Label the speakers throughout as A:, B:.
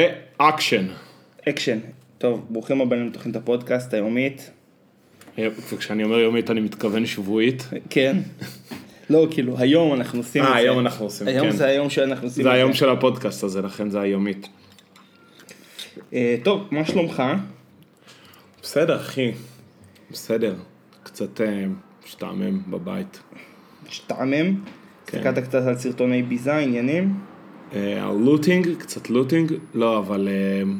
A: ואקשן.
B: אקשן. טוב, ברוכים הבאים לתוכנית הפודקאסט היומית.
A: וכשאני אה, אומר יומית אני מתכוון שבועית.
B: כן. לא, כאילו, היום אנחנו עושים את
A: אה,
B: זה.
A: היום אנחנו עושים,
B: היום
A: כן.
B: זה היום שאנחנו עושים
A: זה
B: את
A: היום של הפודקאסט הזה, לכן זה היומית.
B: אה, טוב, מה שלומך?
A: בסדר, אחי. בסדר. קצת אה, משתעמם בבית.
B: משתעמם?
A: כן.
B: הסתכלת קצת על סרטוני ביזה, עניינים?
A: אה, הלוטינג, קצת לוטינג, לא, אבל אה,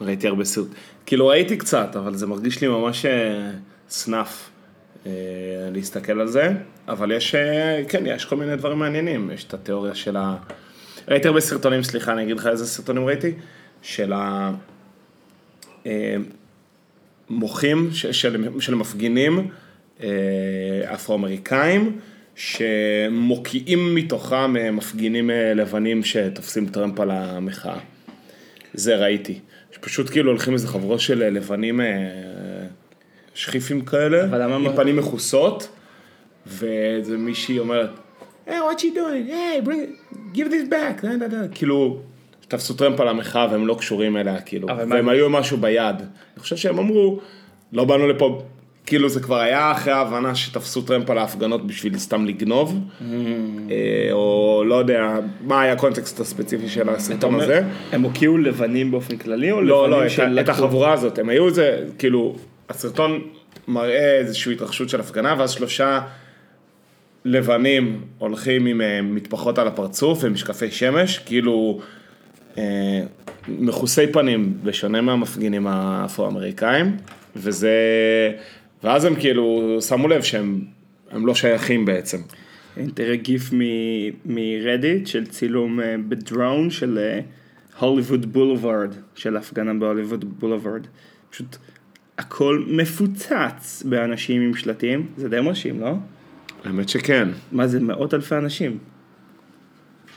A: ראיתי הרבה סרט. כאילו ראיתי קצת, אבל זה מרגיש לי ממש אה, סנף אה, להסתכל על זה, אבל יש, אה, כן, יש כל מיני דברים מעניינים, יש את התיאוריה של ה... ראיתי הרבה סרטונים, סליחה, אני אגיד לך איזה סרטונים ראיתי, של ה... אה, מוחים ש- של, של מפגינים אה, אפרו-אמריקאים שמוקיעים מתוכם אה, מפגינים אה, לבנים שתופסים טראמפ על המחאה. זה ראיתי. שפשוט כאילו הולכים איזה חבורה של אה, לבנים אה, שכיפים כאלה,
B: אבל למה-
A: עם פנים מכוסות, ואיזה מישהי אומרת, היי, what you doing? היי, bring... give this back. נה, נה, נה." כאילו, תפסו טראמפ על המחאה והם לא קשורים אליה, כאילו.
B: אבל מה-
A: והם היו משהו ביד. אני חושב שהם אמרו, לא באנו לפה, כאילו זה כבר היה אחרי ההבנה שתפסו טרמפ על ההפגנות בשביל סתם לגנוב,
B: Mm.
A: אה, או לא יודע, מה היה הקונטקסט הספציפי של
B: אתה
A: הסרטון
B: אומר,
A: הזה.
B: הם הוקיעו לבנים באופן כללי או
A: לא, לא,
B: לבנים
A: את ה- את
B: שלקחו?
A: החבורה הזאת, הם היו איזה, כאילו, הסרטון מראה איזושהי התרחשות של הפגנה, ואז שלושה לבנים הולכים עם אה, מטפחות על הפרצוף ומשקפי שמש, כאילו אה, מכוסי פנים, בשונה מהמפגינים האפרו-אמריקאים, וזה, ואז הם כאילו שמו לב שהם הם לא שייכים בעצם.
B: הנה, תראה גיף מ- מרדיט של צילום אה, בדרון של אה, הוליווד בולוורד, של הפגנה בהוליווד בולוורד. פשוט הכל מפוצץ באנשים עם שלטים, זה די מרשים, לא?
A: האמת שכן.
B: מה זה מאות אלפי אנשים?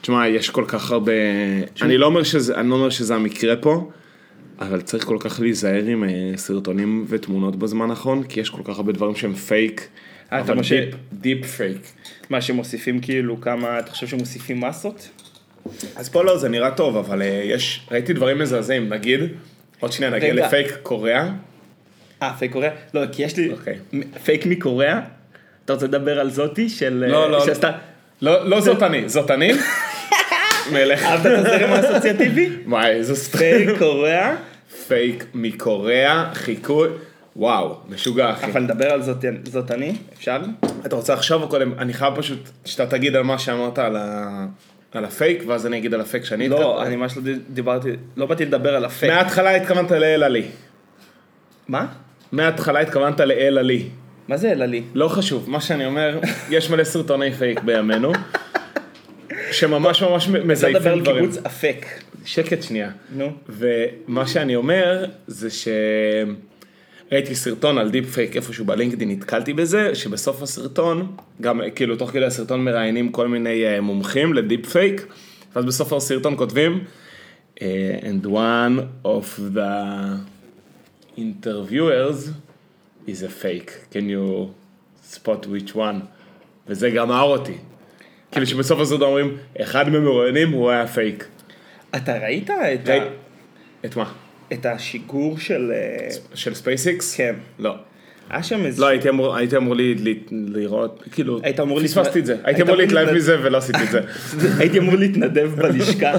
A: תשמע, יש כל כך הרבה... אני לא אומר שזה, אני לא אומר שזה המקרה פה, אבל צריך כל כך להיזהר עם אה, סרטונים ותמונות בזמן האחרון, כי יש כל כך הרבה דברים שהם פייק.
B: אה, אתה
A: אבל
B: משה-
A: דיפ- דיפ פייק.
B: מה שמוסיפים כאילו כמה, אתה חושב שמוסיפים מסות?
A: אז פה לא, זה נראה טוב, אבל אה, יש, ראיתי דברים מזעזעים, נגיד, עוד שנייה נגיע
B: רגע.
A: לפייק קוריאה.
B: אה, פייק קוריאה? לא, כי יש לי
A: אוקיי.
B: מ- פייק מקוריאה. אתה רוצה לדבר על זאתי של... אה,
A: לא, לא,
B: שעשתה...
A: לא, לא זאת אני, זאת אני. מלך.
B: אהבת את הזרם האסוציאטיבי?
A: וואי, איזה סטייק.
B: פייק קוריאה.
A: פייק מקוריאה, חיקוי. וואו, משוגע אחי.
B: אבל נדבר על זאת, זאת אני, אפשר?
A: אתה רוצה עכשיו או קודם? אני חייב פשוט שאתה תגיד על מה שאמרת על, ה... על הפייק, ואז אני אגיד על הפייק שאני...
B: לא,
A: התכוונתי.
B: אני ממש לא ד- דיברתי, לא באתי לדבר על הפייק.
A: מההתחלה התכוונת לאלה לי.
B: מה?
A: מההתחלה התכוונת לאלה לי.
B: מה זה אלה לי?
A: לא חשוב, מה שאני אומר, יש מלא סרטוני פייק בימינו, שממש ממש מ-
B: אפשר לדבר
A: מזייפים
B: על
A: דברים.
B: קיבוץ אפק.
A: שקט שנייה.
B: נו.
A: ומה שאני אומר זה ש... ראיתי סרטון על דיפ פייק איפשהו בלינקדאין, נתקלתי בזה, שבסוף הסרטון, גם אה, כאילו תוך כדי הסרטון מראיינים כל מיני אה, מומחים לדיפ פייק, ואז בסוף הסרטון כותבים, אה, and one of the interviewers is a fake, can you spot which one? וזה גמר אותי. כאילו שבסוף הסרטון אומרים, אחד מהמרואיינים הוא היה פייק.
B: אתה ראית את,
A: ראי-
B: ה...
A: את מה?
B: את השיגור של... אה,
A: של ספייסיקס?
B: כן.
A: לא.
B: היה שם איזה...
A: לא, הייתי אמור, הייתי אמור לי, לי, לראות, כאילו,
B: היית אמור
A: פספסתי
B: להתנ-
A: את זה,
B: היית
A: הייתי אמור
B: אמור
A: להתלהב
B: להתנ-
A: מזה ולא עשיתי את זה.
B: הייתי אמור להתנדב בלשכה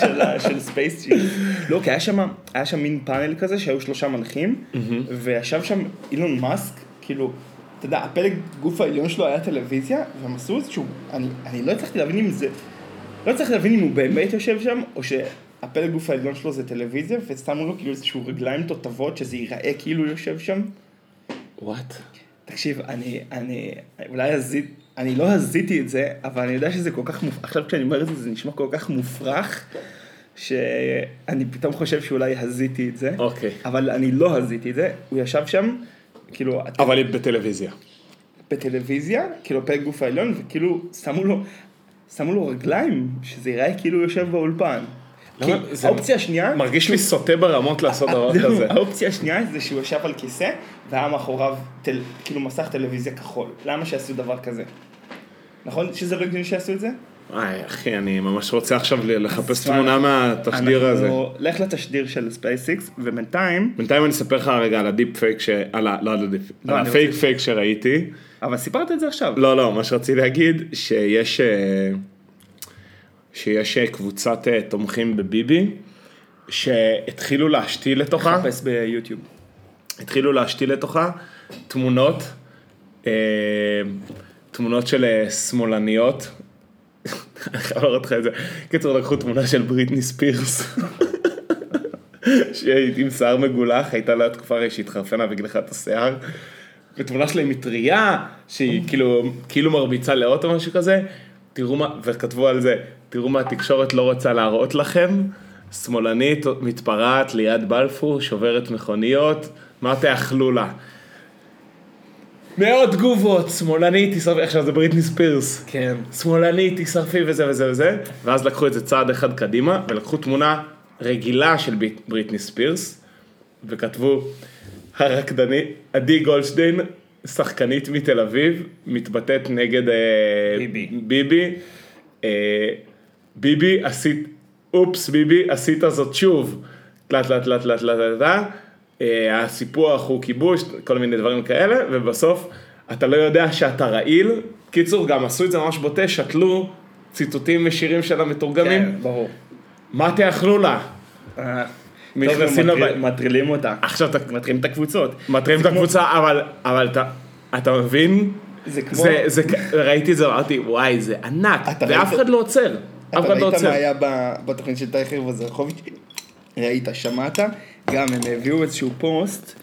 B: של ה- של ספייסצ'יפ. לא, כי היה שם, היה שם מין פאנל כזה שהיו שלושה מנחים, וישב שם אילון מאסק, כאילו, אתה יודע, הפלג גוף העליון שלו היה טלוויזיה, והם עשו איזשהו, אני, אני לא הצלחתי להבין אם זה, לא הצלחתי להבין אם הוא באמת יושב שם, או שהפלג גוף העליון שלו זה טלוויזיה, ושמו לו כאילו איזשהו רגליים תותבות, שזה ייראה כאילו הוא יושב שם.
A: וואט?
B: תקשיב, אני, אני, אולי הזית, אני לא הזיתי את זה, אבל אני יודע שזה כל כך מופרך, עכשיו כשאני אומר את זה, זה נשמע כל כך מופרך, שאני פתאום חושב שאולי הזיתי את זה,
A: אוקיי.
B: אבל אני לא הזיתי את זה, הוא ישב שם, כאילו,
A: אבל היא בטלוויזיה.
B: בטלוויזיה, כאילו פרק גוף העליון, וכאילו שמו לו, שמו לו רגליים, שזה יראה כאילו הוא יושב באולפן. כי
A: למה? זה-
B: האופציה השנייה,
A: מרגיש לי סוטה ברמות לעשות דבר
B: זהו,
A: כזה.
B: האופציה השנייה זה שהוא ישב על כיסא, והיה מאחוריו טל, כאילו מסך טלוויזיה כחול. למה שיעשו דבר כזה? נכון שזה לא הגיוני שיעשו את זה?
A: וואי, אחי, אני ממש רוצה עכשיו ל- לחפש
B: אז מה,
A: תמונה מהתשדיר הזה.
B: אנחנו- לך לתשדיר של ספייסיקס, ובינתיים,
A: בינתיים אני אספר לך רגע על הדיפ פייק, ש... על ה... לא על הדיפ,
B: לא,
A: על
B: אני
A: הפייק
B: רוצה-
A: פייק שראיתי.
B: אבל סיפרת את זה עכשיו.
A: לא, לא, מה שרציתי להגיד, שיש, אה, שיש אה, קבוצת אה, תומכים בביבי, שהתחילו להשתיל לתוכה,
B: חפש לא. ביוטיוב.
A: התחילו להשתיל לתוכה תמונות, אה, תמונות של אה, שמאלניות. אני חייב להראות לך את זה. קיצור, לקחו תמונה של בריטני ספירס. שהיית עם שיער מגולח, הייתה לה תקופה הרי שהתחרפנה וגילחה את השיער. ותמונה שלה עם מטריה, שהיא כאילו, כאילו מרביצה לאות או משהו כזה. תראו מה, וכתבו על זה, תראו מה התקשורת לא רוצה להראות לכם. שמאלנית מתפרעת ליד בלפור, שוברת מכוניות, מה תאכלו לה? מאות תגובות, שמאלנית, תשרפי, עכשיו זה בריטני ספירס.
B: כן.
A: שמאלנית, תשרפי וזה וזה וזה, ואז לקחו את זה צעד אחד קדימה, ולקחו תמונה רגילה של ביט- בריטני ספירס, וכתבו, הרקדנית, עדי גולדשטיין, שחקנית מתל אביב, מתבטאת נגד אה,
B: ביבי.
A: ביבי, אה, ביבי, עשית, אופס ביבי, עשית זאת שוב, תלה תלה תלה תלה תלה תלה תלה, אה, הסיפוח הוא כיבוש, כל מיני דברים כאלה, ובסוף אתה לא יודע שאתה רעיל, קיצור גם עשו את זה ממש בוטה, שתלו ציטוטים משירים של המתורגמים,
B: כן, ברור.
A: מה תאכלו לה?
B: אה,
A: נכנסים
B: טוב, הם
A: לבית.
B: מטרילים אותה.
A: עכשיו אתה
B: מטרילים את הקבוצות.
A: מטרים את
B: זה כמו-
A: הקבוצה, אבל, אבל אתה, אתה מבין?
B: זה כמו-
A: זה, זה, כ- ראיתי את זה, אמרתי, וואי, זה ענק,
C: אתה
A: ואף
C: ראית-
A: אחד לא עוצר,
C: אתה
A: אף אחד לא
C: ראית
A: עוצר.
C: מה היה ב- בתוכנית של טייכר וזרחוביץ'? ראית, שמעת?
B: גם הם הביאו איזשהו פוסט,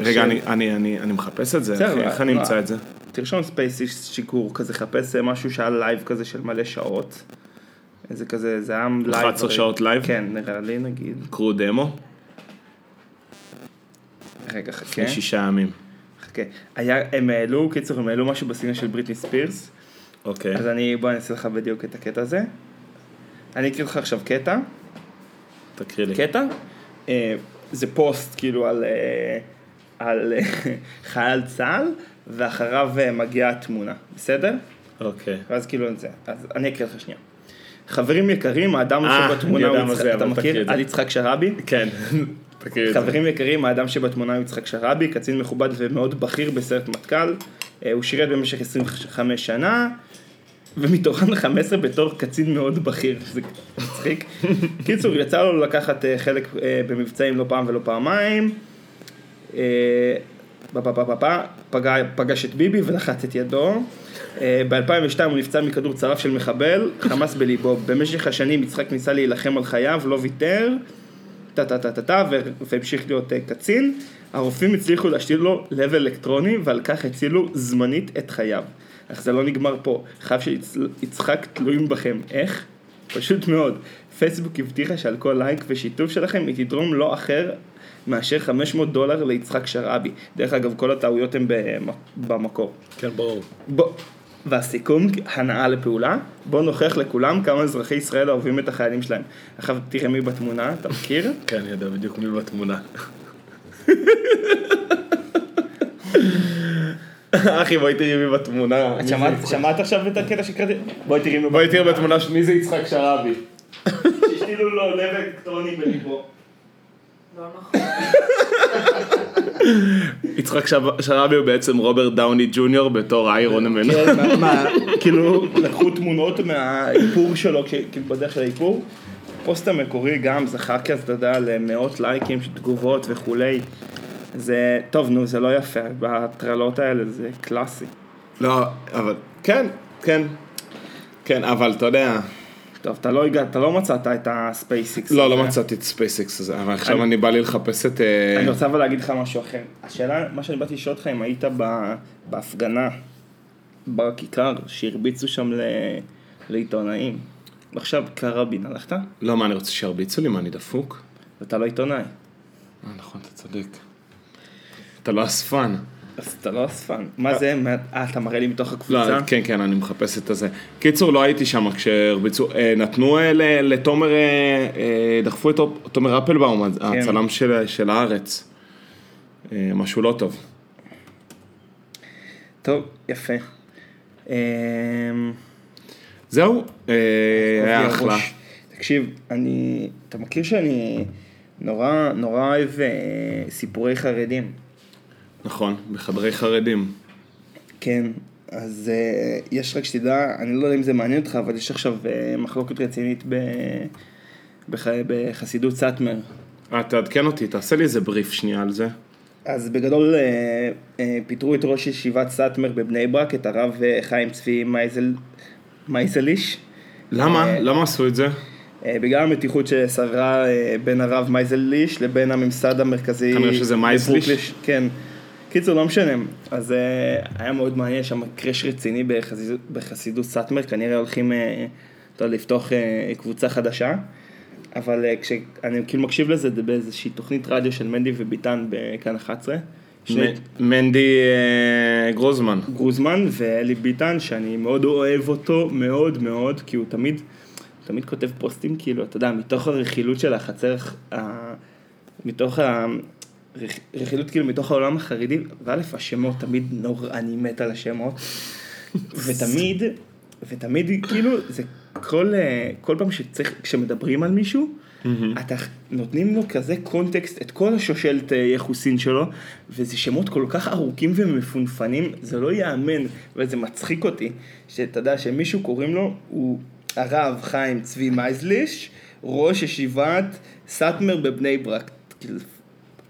A: רגע, אני- אני אני- אני מחפש את זה,
B: בסדר,
A: אחי, איך
B: לא.
A: אני אמצא את זה?
B: תרשום ספייסיס שיגור כזה, חפש אה, משהו שהיה לייב כזה של מלא שעות. איזה כזה, זה היה לא, לייב.
A: 11
B: הרי.
A: שעות לייב?
B: כן, נראה לי נגיד.
A: קרו דמו,
B: רגע, חכה.
A: לפני שישה ימים.
B: חכה. היה, הם העלו, קיצור, הם העלו משהו בסגנון של בריטני ספירס.
A: אוקיי.
B: אז אני, בוא אני אעשה לך בדיוק את הקטע הזה. אני אקריא לך עכשיו קטע.
A: תקריא לי.
B: קטע. אה, זה פוסט כאילו על, אה, על אה, חייל צה"ל, ואחריו אה, מגיעה התמונה, בסדר?
A: אוקיי.
B: ואז כאילו זה. אז אני אקריא לך שנייה. חברים יקרים, האדם
A: אה,
B: שבתמונה
A: אני
B: הוא
A: יודע מה
B: יצחק,
A: זה,
B: אתה
A: אבל תקריא את
B: מכיר?
A: זה.
B: על יצחק שרעבי?
A: כן, תקריא את זה.
B: חברים יקרים, האדם שבתמונה הוא יצחק שרעבי, קצין מכובד ומאוד בכיר בסיירת מטכ"ל. אה, הוא שירת במשך 25 שנה, ומתוכן 15 בתור קצין מאוד בכיר, זה מצחיק. קיצור, יצא לו לקחת אה, חלק אה, במבצעים לא פעם ולא פעמיים. אה, פה, פה, פה, פה, פה, פגע- פגש את ביבי ולחץ את ידו. ב-2002 הוא נפצע מכדור צרף של מחבל, חמאס בליבו. במשך השנים יצחק ניסה להילחם על חייו, לא ויתר, טה טה טה טה טה, ו- והמשיך להיות אה, קצין. הרופאים הצליחו להשתיל לו לב אלקטרוני, ועל כך הצילו זמנית את חייו. אך זה לא נגמר פה, חייו של יצ- יצחק תלויים בכם. איך? פשוט מאוד. פייסבוק הבטיחה שעל כל לייק ושיתוף שלכם היא תתרום לא אחר מאשר 500 דולר ליצחק שרעבי. דרך אגב, כל הטעויות הן במ- במקור.
A: כן, ברור.
B: בוא, והסיכום, הנאה לפעולה, בוא נוכיח לכולם כמה אזרחי ישראל אוהבים את החיילים שלהם. עכשיו תראה מי בתמונה, אתה מכיר?
A: כן, אני יודע בדיוק מי בתמונה. אחי, בואי תראי מי בתמונה.
B: את שמעת- שמעת עכשיו את הקטע שקראתי? בואי תראי מי
A: בואי תראי בתמונה ש- מי זה יצחק שרעבי.
B: שהשתילו לו לב אלקטרוני בליבו.
A: יצחק שב- שרעבי הוא בעצם רוברט דאוני ג'וניור בתור איירון מן.
B: כן, מה- מה, כאילו, לקחו תמונות מהאיפור שלו, כש- כאילו בדרך של האיפור. הפוסט המקורי גם זכה כהצדדה למאות לייקים, תגובות וכולי. זה, טוב נו, זה לא יפה, בהטרלות האלה זה קלאסי.
A: לא, אבל... כן, כן. כן, אבל אתה יודע...
B: טוב, אתה לא הגעת, אתה לא מצאת את הספייסיקס.
A: לא, לא מצאתי את ספייסיקס הזה, אבל עכשיו אני בא לי לחפש את... אה,
B: אני רוצה אבל להגיד לך משהו אחר. השאלה, מה שאני באתי לשאול אותך, אם היית ב- בהפגנה, בכיכר, שהרביצו שם ל- לעיתונאים. עכשיו קרבין, הלכת?
A: לא, מה, אני רוצה שירביצו לי? מה, אני דפוק?
B: ואתה לא עיתונאי.
A: אה, נכון, אתה צודק. אתה לא אספן.
B: אז אתה לא אספן. מה זה? מה- אה, אתה מראה לי מתוך
A: לא,
B: הקבוצה?
A: כן, כן, אני מחפש את הזה. קיצור, לא הייתי שם כשהרביצו, אה, נתנו אה, ל- לתומר, אה, אה, דחפו את אופ- תומר אפלבאום, הצ- הצלם של- של הארץ. אה, משהו לא טוב.
B: טוב, יפה. אמ,
A: זהו, אה, היה אחלה.
B: הראש. תקשיב, אני... אתה מכיר שאני נורא נורא אוהב אה, סיפורי חרדים.
A: נכון, בחדרי חרדים.
B: כן, אז אה, יש רק שתדע, אני לא יודע אם זה מעניין אותך, אבל יש עכשיו אה, מחלוקת רצינית ב... בח... בחסידות סאטמר.
A: אה, תעדכן אותי, תעשה לי איזה בריף שנייה על זה.
B: אז בגדול אה, אה, פיטרו את ראש ישיבת סאטמר בבני ברק, את הרב אה, חיים צבי מייזל... מייזליש.
A: למה? למה עשו את זה?
B: אה, בגלל המתיחות ששררה אה, בין הרב מייזליש לבין הממסד המרכזי.
A: כנראה שזה מייזליש.
B: בברוקליש, כן. קיצור, לא משנה. אז אה, היה מאוד מעניין, יש שם קרש רציני בחסידות, בחסידות סאטמר, כנראה הולכים אה, אתה יודע, לפתוח אה, קבוצה חדשה. אבל אה, כשאני כאילו מקשיב לזה, זה באיזושהי תוכנית רדיו של מנדי וביטן בכאן 11. שני
A: מ- מנדי אה, גרוזמן.
B: גרוזמן ואלי ביטן, שאני מאוד אוהב אותו, מאוד מאוד, כי הוא תמיד, תמיד כותב פוסטים, כאילו, אתה יודע, מתוך הרכילות של החצר, ה... מתוך ה... רכ- רכילות כאילו מתוך העולם החרדי, וא' השמות תמיד נורא, אני מת על השמות, ותמיד, ותמיד כאילו, זה כל, אה, כל פעם שצריך, כשמדברים על מישהו, אתה נותנים לו כזה קונטקסט, את כל השושלת אה, יחוסין שלו, וזה שמות כל כך ארוכים ומפונפנים, זה לא ייאמן, וזה מצחיק אותי, שאתה יודע שמישהו קוראים לו, הוא הרב חיים צבי מייזליש, ראש ישיבת סאטמר בבני ברק. כאילו,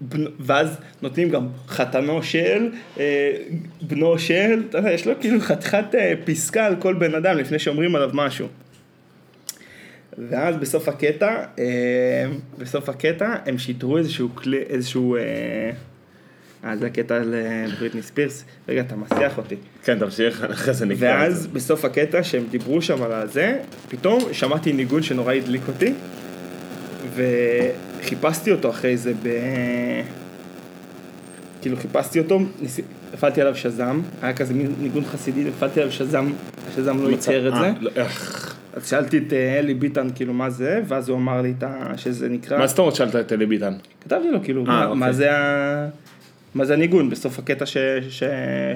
B: בנ... ואז נותנים גם חתנו של, אה, בנו של, אתה יודע, יש לו כאילו חתיכת אה, פסקה על כל בן אדם לפני שאומרים עליו משהו. ואז בסוף הקטע, אה, בסוף הקטע הם שידרו איזשהו כלי, איזשהו, אה, אה, זה הקטע על אה, בריטני ספירס, רגע אתה מסיח אותי.
A: כן, תמשיך, אחרי זה נקרא.
B: ואז בסוף הקטע שהם דיברו שם על הזה, פתאום שמעתי ניגון שנורא הדליק אותי, וחיפשתי אותו אחרי זה ב... כאילו חיפשתי אותו, ניס... נפלתי עליו שזם, היה כזה מין ניגון חסידי, נפלתי עליו שזם, שזם לא ייצר
A: אה.
B: את זה. אז שאלתי את אה, אלי ביטן כאילו מה זה, ואז הוא אמר לי את ה... שזה נקרא...
A: מה זאת אומרת שאלת את אלי ביטן?
B: כתבתי לו כאילו, מה,
A: אוקיי.
B: מה זה ה... מה זה הניגון בסוף הקטע ש- ש-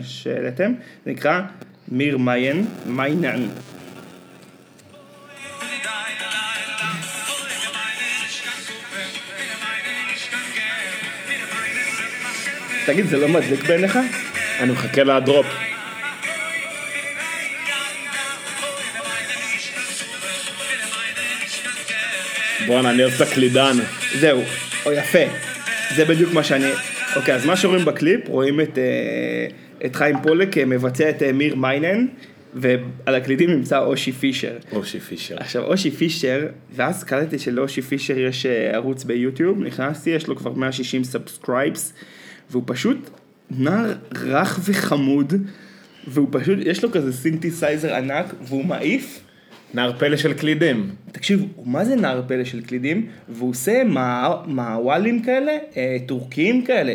B: שהעליתם, זה נקרא מיר מיין, מיינן. תגיד, זה לא מדליק בעיניך?
A: אני מחכה לדרופ. בואנה, אני אוהב את הקלידן.
B: זהו, או יפה, זה בדיוק מה שאני... אוקיי, אז מה שרואים בקליפ, רואים את, אה, את חיים פולק אה, מבצע את אה, מיר מיינן, ועל הקלידים נמצא אושי פישר.
A: אושי פישר.
B: עכשיו, אושי פישר, ואז קלטתי שלאושי פישר יש אה, ערוץ ביוטיוב, נכנסתי, יש לו כבר 160 סאבסקרייבס, והוא פשוט נער רך וחמוד, והוא פשוט, יש לו כזה סינתסייזר ענק, והוא מעיף.
A: נער פלא של קלידים.
B: תקשיב, הוא מה זה נער פלא של קלידים? והוא עושה מה- מעוואלים כאלה, אה, טורקיים כאלה.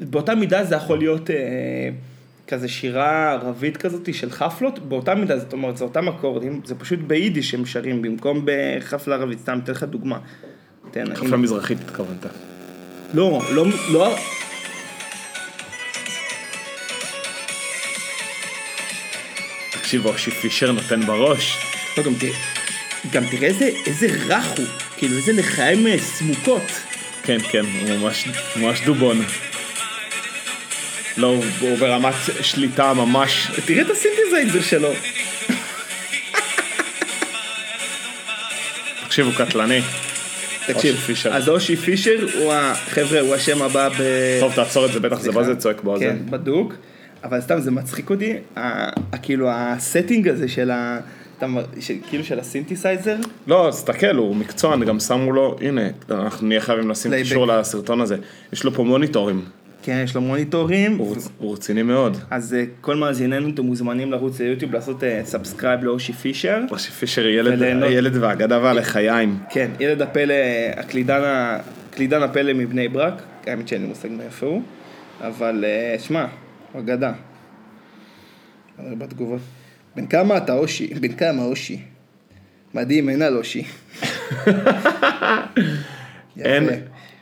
B: באותה מידה זה יכול להיות אה, כזה שירה ערבית כזאת של חפלות, באותה מידה, זאת אומרת, זה אותם אקורדים, זה פשוט ביידיש שהם שרים, במקום בחפלה ערבית, סתם אתן לך דוגמה. תן, אם-
A: חפלה מזרחית התכוונת.
B: לא, לא, לא...
A: תקשיב, אושי פישר נותן בראש.
B: לא, גם תראה, גם תראה איזה, איזה רך הוא, כאילו איזה לחיים אה, סמוקות.
A: כן, כן, הוא ממש, ממש דובון. לא, הוא- הוא ברמת שליטה ממש.
B: תראה את הסינתזייזר שלו.
A: תקשיב, הוא קטלני.
B: תקשיב,
A: אושי פישר.
B: אז אושי פישר הוא ה... חבר'ה, הוא השם הבא ב...
A: טוב, תעצור את זה, בטח זה
B: סליחה.
A: בזה צועק באוזן.
B: כן, בדוק. אבל סתם, זה מצחיק אותי, ה- ה- כאילו הסטינג הזה של ה... אתה מ- של- כאילו של הסינתסייזר,
A: לא, אז תסתכל, הוא מקצוען, גם שמו לו, הנה, אנחנו נהיה חייבים לשים
B: פלייבק.
A: קישור לסרטון הזה. יש לו פה מוניטורים,
B: כן, יש לו מוניטורים,
A: הוא רצ- הוא רציני מאוד.
B: אז אה, כל מאזיננו, אתם מוזמנים לרוץ ליוטיוב לעשות אה, סאבסקרייב לאושי פישר.
A: ראשי פישר ילד,
B: וליהנות.
A: ילד והאגדה והלחיים.
B: כן, ילד הפלא, הקלידן, ה- הקלידן הפלא מבני ברק, האמת שאין לי מושג מאיפה הוא, אבל אה, שמע, הוא אגדה. אבל בתגובות. בן כמה אתה אושי? בן כמה אושי? מדהים, אין על אושי. יפה.
A: אין,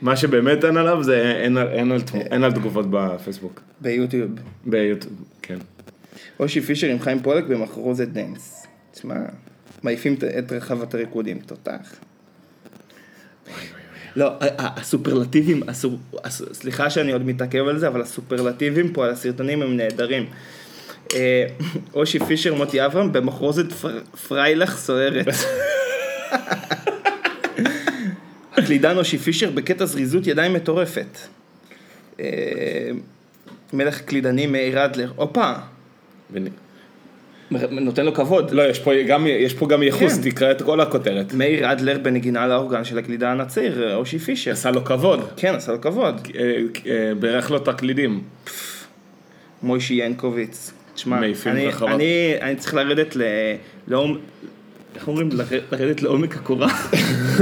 A: מה שבאמת אין עליו זה אין על- אין על תמו- אין על תגובות בפייסבוק.
B: ביוטיוב.
A: ביוטיוב, כן.
B: אושי פישר עם חיים פולק במחרוזת דנס. תשמע, מעיפים את- את רחבת הריקודים, תותח. לא, ה- ה- הסופרלטיבים, הסו- הס- סליחה שאני עוד מתעכב על זה, אבל הסופרלטיבים פה על הסרטונים הם נהדרים. אה, אושי פישר מוטי אברהם במחרוזת פר- פריילך סוערת. הקלידן אושי פישר בקטע זריזות ידיים מטורפת. אה, מלך קלידני מאיר אדלר, הופה,
A: בנ-
B: מ- נותן לו כבוד.
A: לא, יש פה גם- יש פה גם ייחוס,
B: כן.
A: תקרא את כל הכותרת.
B: מאיר אדלר בנגינה לאורגן של הקלידן הצעיר, אושי פישר.
A: עשה לו כבוד,
B: כן, עשה לו כבוד.
A: אה, אה, בירך לו תקלידים.
B: מוישי ינקוביץ. תשמע,
A: מעיפים
B: אני,
A: רחבה.
B: אני, אני צריך לרדת ל... לעומ... איך אומרים? לר- לרדת לעומק הקורה.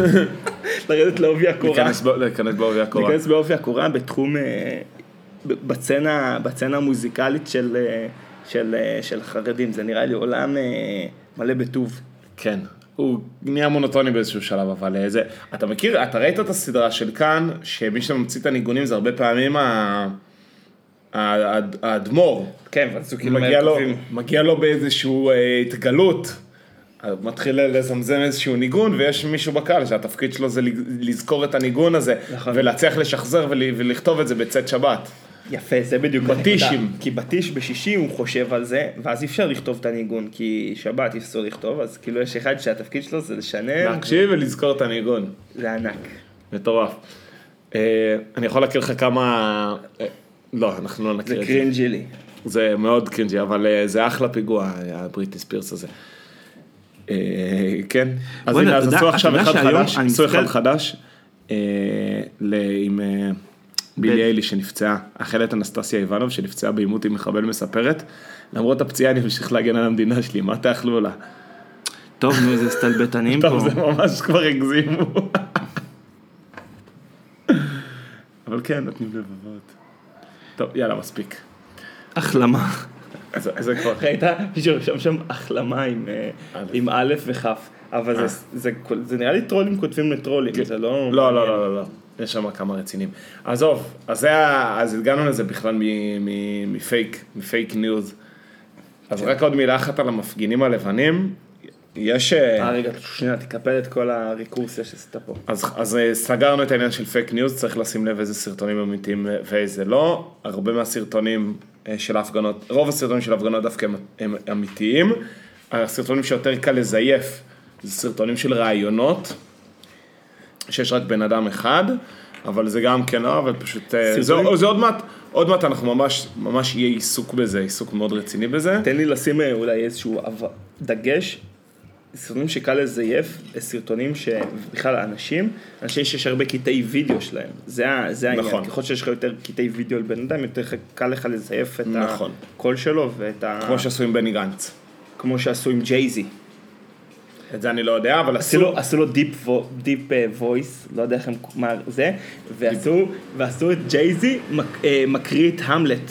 B: לרדת לעובי הקורה.
A: להיכנס ב- להיכנס בעובי הקורה.
B: להיכנס בעובי הקורה בתחום... אה, ב- בצנה, בצנה המוזיקלית של, אה, של, אה, של חרדים. זה נראה לי עולם אה, מלא בטוב.
A: כן. הוא נהיה מונוטוני באיזשהו שלב, אבל אה, זה... אתה מכיר, אתה ראית את הסדרה של כאן, שמי שממציא את הניגונים זה הרבה פעמים ה... ה- ה- האדמו"ר.
B: כן, ורצוקים
A: מגיע לו, מגיע לו באיזשהו אה, התגלות. אז הוא מתחיל לזמזם איזשהו ניגון, ויש מישהו בקהל שהתפקיד שלו זה לזכור את הניגון הזה,
B: נכון.
A: ולהצליח לשחזר ול, ולכתוב את זה בצאת שבת.
B: יפה, זה בדיוק
A: בטישים.
B: הנקודה. כי בטיש בשישים הוא חושב על זה, ואז אי אפשר לכתוב את הניגון, כי שבת אי אפשר לכתוב, אז כאילו יש אחד שהתפקיד שלו זה לשנן,
A: להקשיב ולזכור את הניגון.
B: זה ענק.
A: מטורף. אה, אני יכול להכיר לך כמה... אה, לא, אנחנו לא
B: זה
A: נכיר את זה.
B: קרינג'י לי.
A: זה מאוד קרינג'י, אבל אה, זה אחלה פיגוע, הבריטני ספירס הזה. אה, כן, אז
D: בוא'נה,
A: הנה, אז
D: אתה
A: עשו
D: יודע-
A: עכשיו
D: אתה
A: אחד
D: יודע שהיום
A: חדש,
D: אני
A: עשו אחד
D: מסתכל-
A: חדש, אה, ל- עם אה, בילי איילי שנפצעה, אכלת אנסטסיה איוונוב שנפצעה בעימות עם מחבל מספרת, למרות הפציעה אני ממשיך להגן על המדינה שלי, מה תאכלו לה?
D: טוב, נו, איזה סטלבטנים פה.
A: טוב, זה ממש כבר הגזימו. אבל כן, נותנים לבבות. טוב, יאללה, מספיק.
D: החלמה.
A: אז זה כבר...
B: ראית מישהו רשם שם החלמה עם, אה, עם א' וכ', אבל זה- זה כל- זה נראה לי טרולים כותבים לטרולים, זה לא...
A: לא, לא, לא, לא, לא. יש שם כמה רציניים. עזוב, אז זה ה... אז הגענו לזה בכלל מ- מ- מפייק, מפייק ניוז. אז
B: כן.
A: רק עוד מילה אחת על המפגינים הלבנים. יש... אה,
B: אה, רגע, שנייה, תקפל את כל הריקורסיה שעשית פה.
A: אז, אז אה, סגרנו את העניין של פייק ניוז, צריך לשים לב איזה סרטונים אמיתיים אה, ואיזה לא. הרבה מהסרטונים אה, של ההפגנות, רוב הסרטונים של ההפגנות דווקא הם, הם אמיתיים. הסרטונים שיותר קל לזייף זה סרטונים של רעיונות, שיש רק בן אדם אחד, אבל זה גם כן לא, אבל פשוט... אה, זה,
B: סרטונים-
A: זה עוד מעט, עוד מעט אנחנו ממש, ממש יהיה עיסוק בזה, עיסוק מאוד רציני בזה.
B: תן לי לשים אה, אולי איזשהו אב- דגש, סרטונים שקל לזייף, אה, סרטונים שבכלל אנשים, אנשים שיש הרבה קטעי וידאו שלהם, זה, ה- זה העניין,
A: נכון.
B: נכון. ככל שיש לך יותר קטעי וידאו על בן אדם, יותר ח- קל לך לזייף את
A: נכון.
B: הקול שלו ואת ה...
A: כמו שעשו עם בני גנץ.
B: כמו שעשו עם ג'ייזי.
A: את זה אני לא יודע, אבל
B: עשו
A: עשו...
B: לו, עשו לו דיפ, ו... דיפ אה, וויס, לא יודע איך הם, מה זה, ועשו, ועשו את ג'ייזי מק, אה, מקריא את המלט.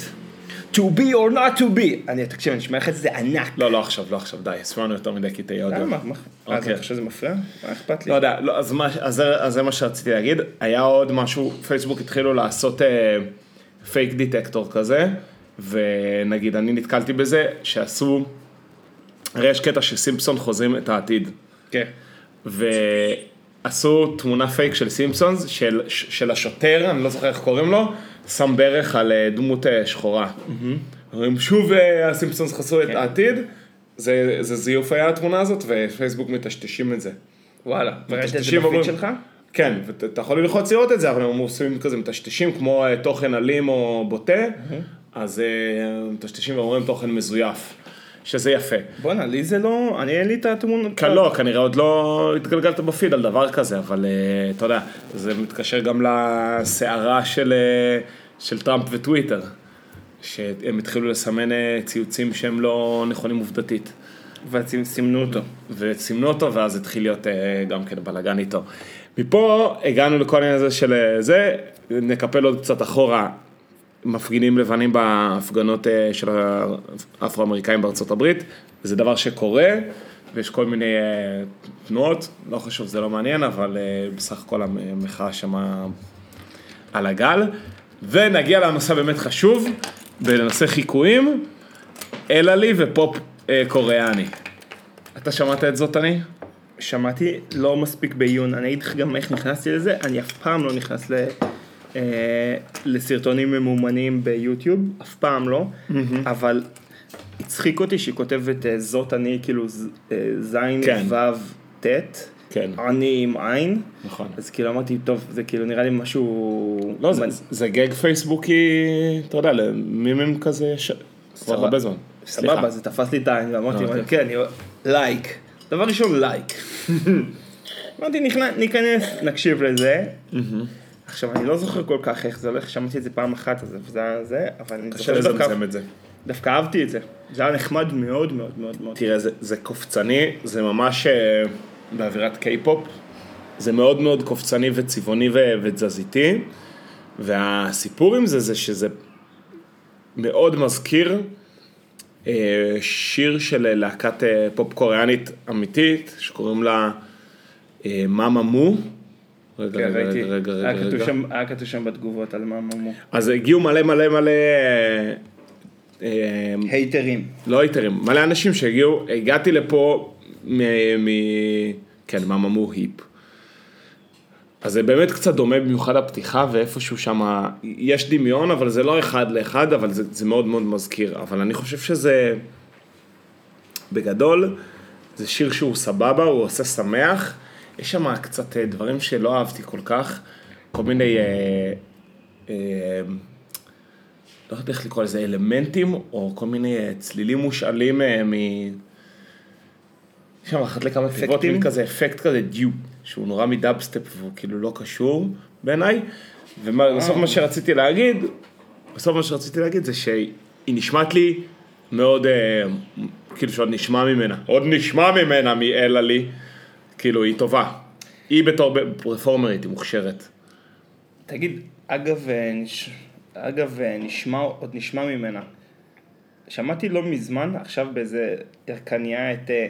B: To be or not to be. אני, תקשיב, אני שומע לך את זה ענק.
A: לא, לא עכשיו, לא עכשיו, די, הסמנו יותר מדי קטעי אודיו.
B: למה? מה- אה, אז
A: אוקיי.
B: אתה חושב שזה מפריע? מה אכפת לי?
A: לא יודע, לא, אז, מה, אז, זה, אז זה מה שרציתי להגיד. היה עוד משהו, פייסבוק התחילו לעשות אה, פייק דיטקטור כזה, ונגיד אני נתקלתי בזה, שעשו, הרי יש קטע שסימפסון חוזרים את העתיד,
B: כן.
A: ועשו תמונה פייק של סימפסונס, של, של השוטר, אני לא זוכר איך קוראים לו, שם ברך על אה, דמות אה, שחורה. אומרים שוב אה, הסימפסונס חסו את העתיד, זה, זה זיוף היה התמונה הזאת, ופייסבוק מטשטשים את זה.
B: וואלה, וראית את זה
A: תקשיב,
B: בפיד
A: אבל-
B: שלך?
A: כן, ואתה יכול ללחוץ לראות את זה, אבל הם עושים כזה מטשטשים, כמו אה, תוכן אלים או בוטה, אז אה, מטשטשים ואומרים תוכן מזויף, שזה יפה.
B: בואנה, לי זה לא, אני אין לי את התמונה.
A: כן, לא, כנראה עוד לא התגלגלת בפיד על דבר כזה, אבל אה, אתה יודע, זה מתקשר גם לסערה של, אה, של טראמפ וטוויטר, שהם התחילו לסמן אה, ציוצים שהם לא נכונים עובדתית.
B: וסימנו אותו.
A: וסימנו אותו, ואז התחיל להיות אה, גם כן בלאגן איתו. מפה הגענו לכל העניין הזה של אה, זה, נקפל עוד קצת אחורה. מפגינים לבנים בהפגנות אה, של האפרו-אמריקאים בארצות הברית, זה דבר שקורה, ויש כל מיני אה, תנועות, לא חשוב, זה לא מעניין, אבל אה, בסך הכל המחאה שמה על הגל. ונגיע לנושא באמת חשוב, בנושא חיקויים, אלא לי ופופ אה, קוריאני.
B: אתה
A: אתה שמעת את זאת אני?
B: שמעתי לא מספיק בעיון, אני אגיד לך גם איך נכנסתי לזה, אני אף פעם לא נכנס ל, אה, לסרטונים ממומנים ביוטיוב, אף פעם לא, אבל הצחיק אותי שהיא כותבת אה, זאת אני, כאילו ז- אה, זין,
A: כן.
B: וו, טט,
A: כן.
B: אני עם עין,
A: נכון.
B: אז כאילו אמרתי, טוב, זה כאילו נראה לי משהו...
A: לא, זה,
B: מנ-
A: זה גג פייסבוקי, אתה יודע, למימים כזה, ש... כבר
B: סבבה.
A: הרבה זמן.
B: סבבה, זה תפס לי את העין, ואמרתי,
A: אוקיי.
B: כן, אני... לייק. דבר ראשון, לייק. אמרתי, נכנס- ניכנס, נקשיב לזה. עכשיו, אני לא זוכר כל כך איך זה הולך, שמעתי את זה פעם אחת, אז זה היה זה, אבל אני
A: קשה
B: זוכר דווקא-
A: לזמזם את זה.
B: דווקא אהבתי את זה. זה היה נחמד מאוד מאוד מאוד מאוד.
A: תראה, זה, זה קופצני, זה ממש אה, באווירת קיי-פופ. זה מאוד מאוד קופצני וצבעוני ו- ותזזיתי. והסיפור עם זה, זה שזה מאוד מזכיר אה, שיר של להקת אה, פופ קוריאנית אמיתית, שקוראים לה אה, מאמה מו. רגע,
B: כן,
A: רגע,
B: ראיתי.
A: רגע, רגע,
B: היה כתוב
A: רגע.
B: שם- היה כתוב שם בתגובות על מה מומו.
A: אז הגיעו מלא מלא מלא... אה, אה,
B: הייטרים.
A: לא היתרים, מלא אנשים שהגיעו, הגעתי לפה מ... מ כן, מאממו היפ. אז זה באמת קצת דומה במיוחד הפתיחה ואיפשהו שם, יש דמיון, אבל זה לא אחד לאחד, אבל זה, זה מאוד מאוד מזכיר. אבל אני חושב שזה, בגדול, זה שיר שהוא סבבה, הוא עושה שמח. יש שם קצת אה, דברים שלא אהבתי כל כך, כל מיני... אה, אה, לא יודע איך לקרוא לזה, אלמנטים, או כל מיני אה, צלילים מושאלים אה, מ... יש שם אחת לכמה תיבות,
B: אפקטים?
A: מין כזה אפקט כזה דיו, שהוא נורא מדאבסטפ והוא כאילו לא קשור בעיניי. ובסוף מה שרציתי להגיד, בסוף מה שרציתי להגיד זה שהיא נשמעת לי מאוד, אה, כאילו שעוד נשמע ממנה, עוד נשמע ממנה מאלה לי, כאילו היא טובה. היא בתור פרפורמרית, היא מוכשרת.
B: תגיד, אגב, אה, נש... אגב אה, נשמע, עוד נשמע ממנה. שמעתי לא מזמן, עכשיו באיזה ירקניה את... אה,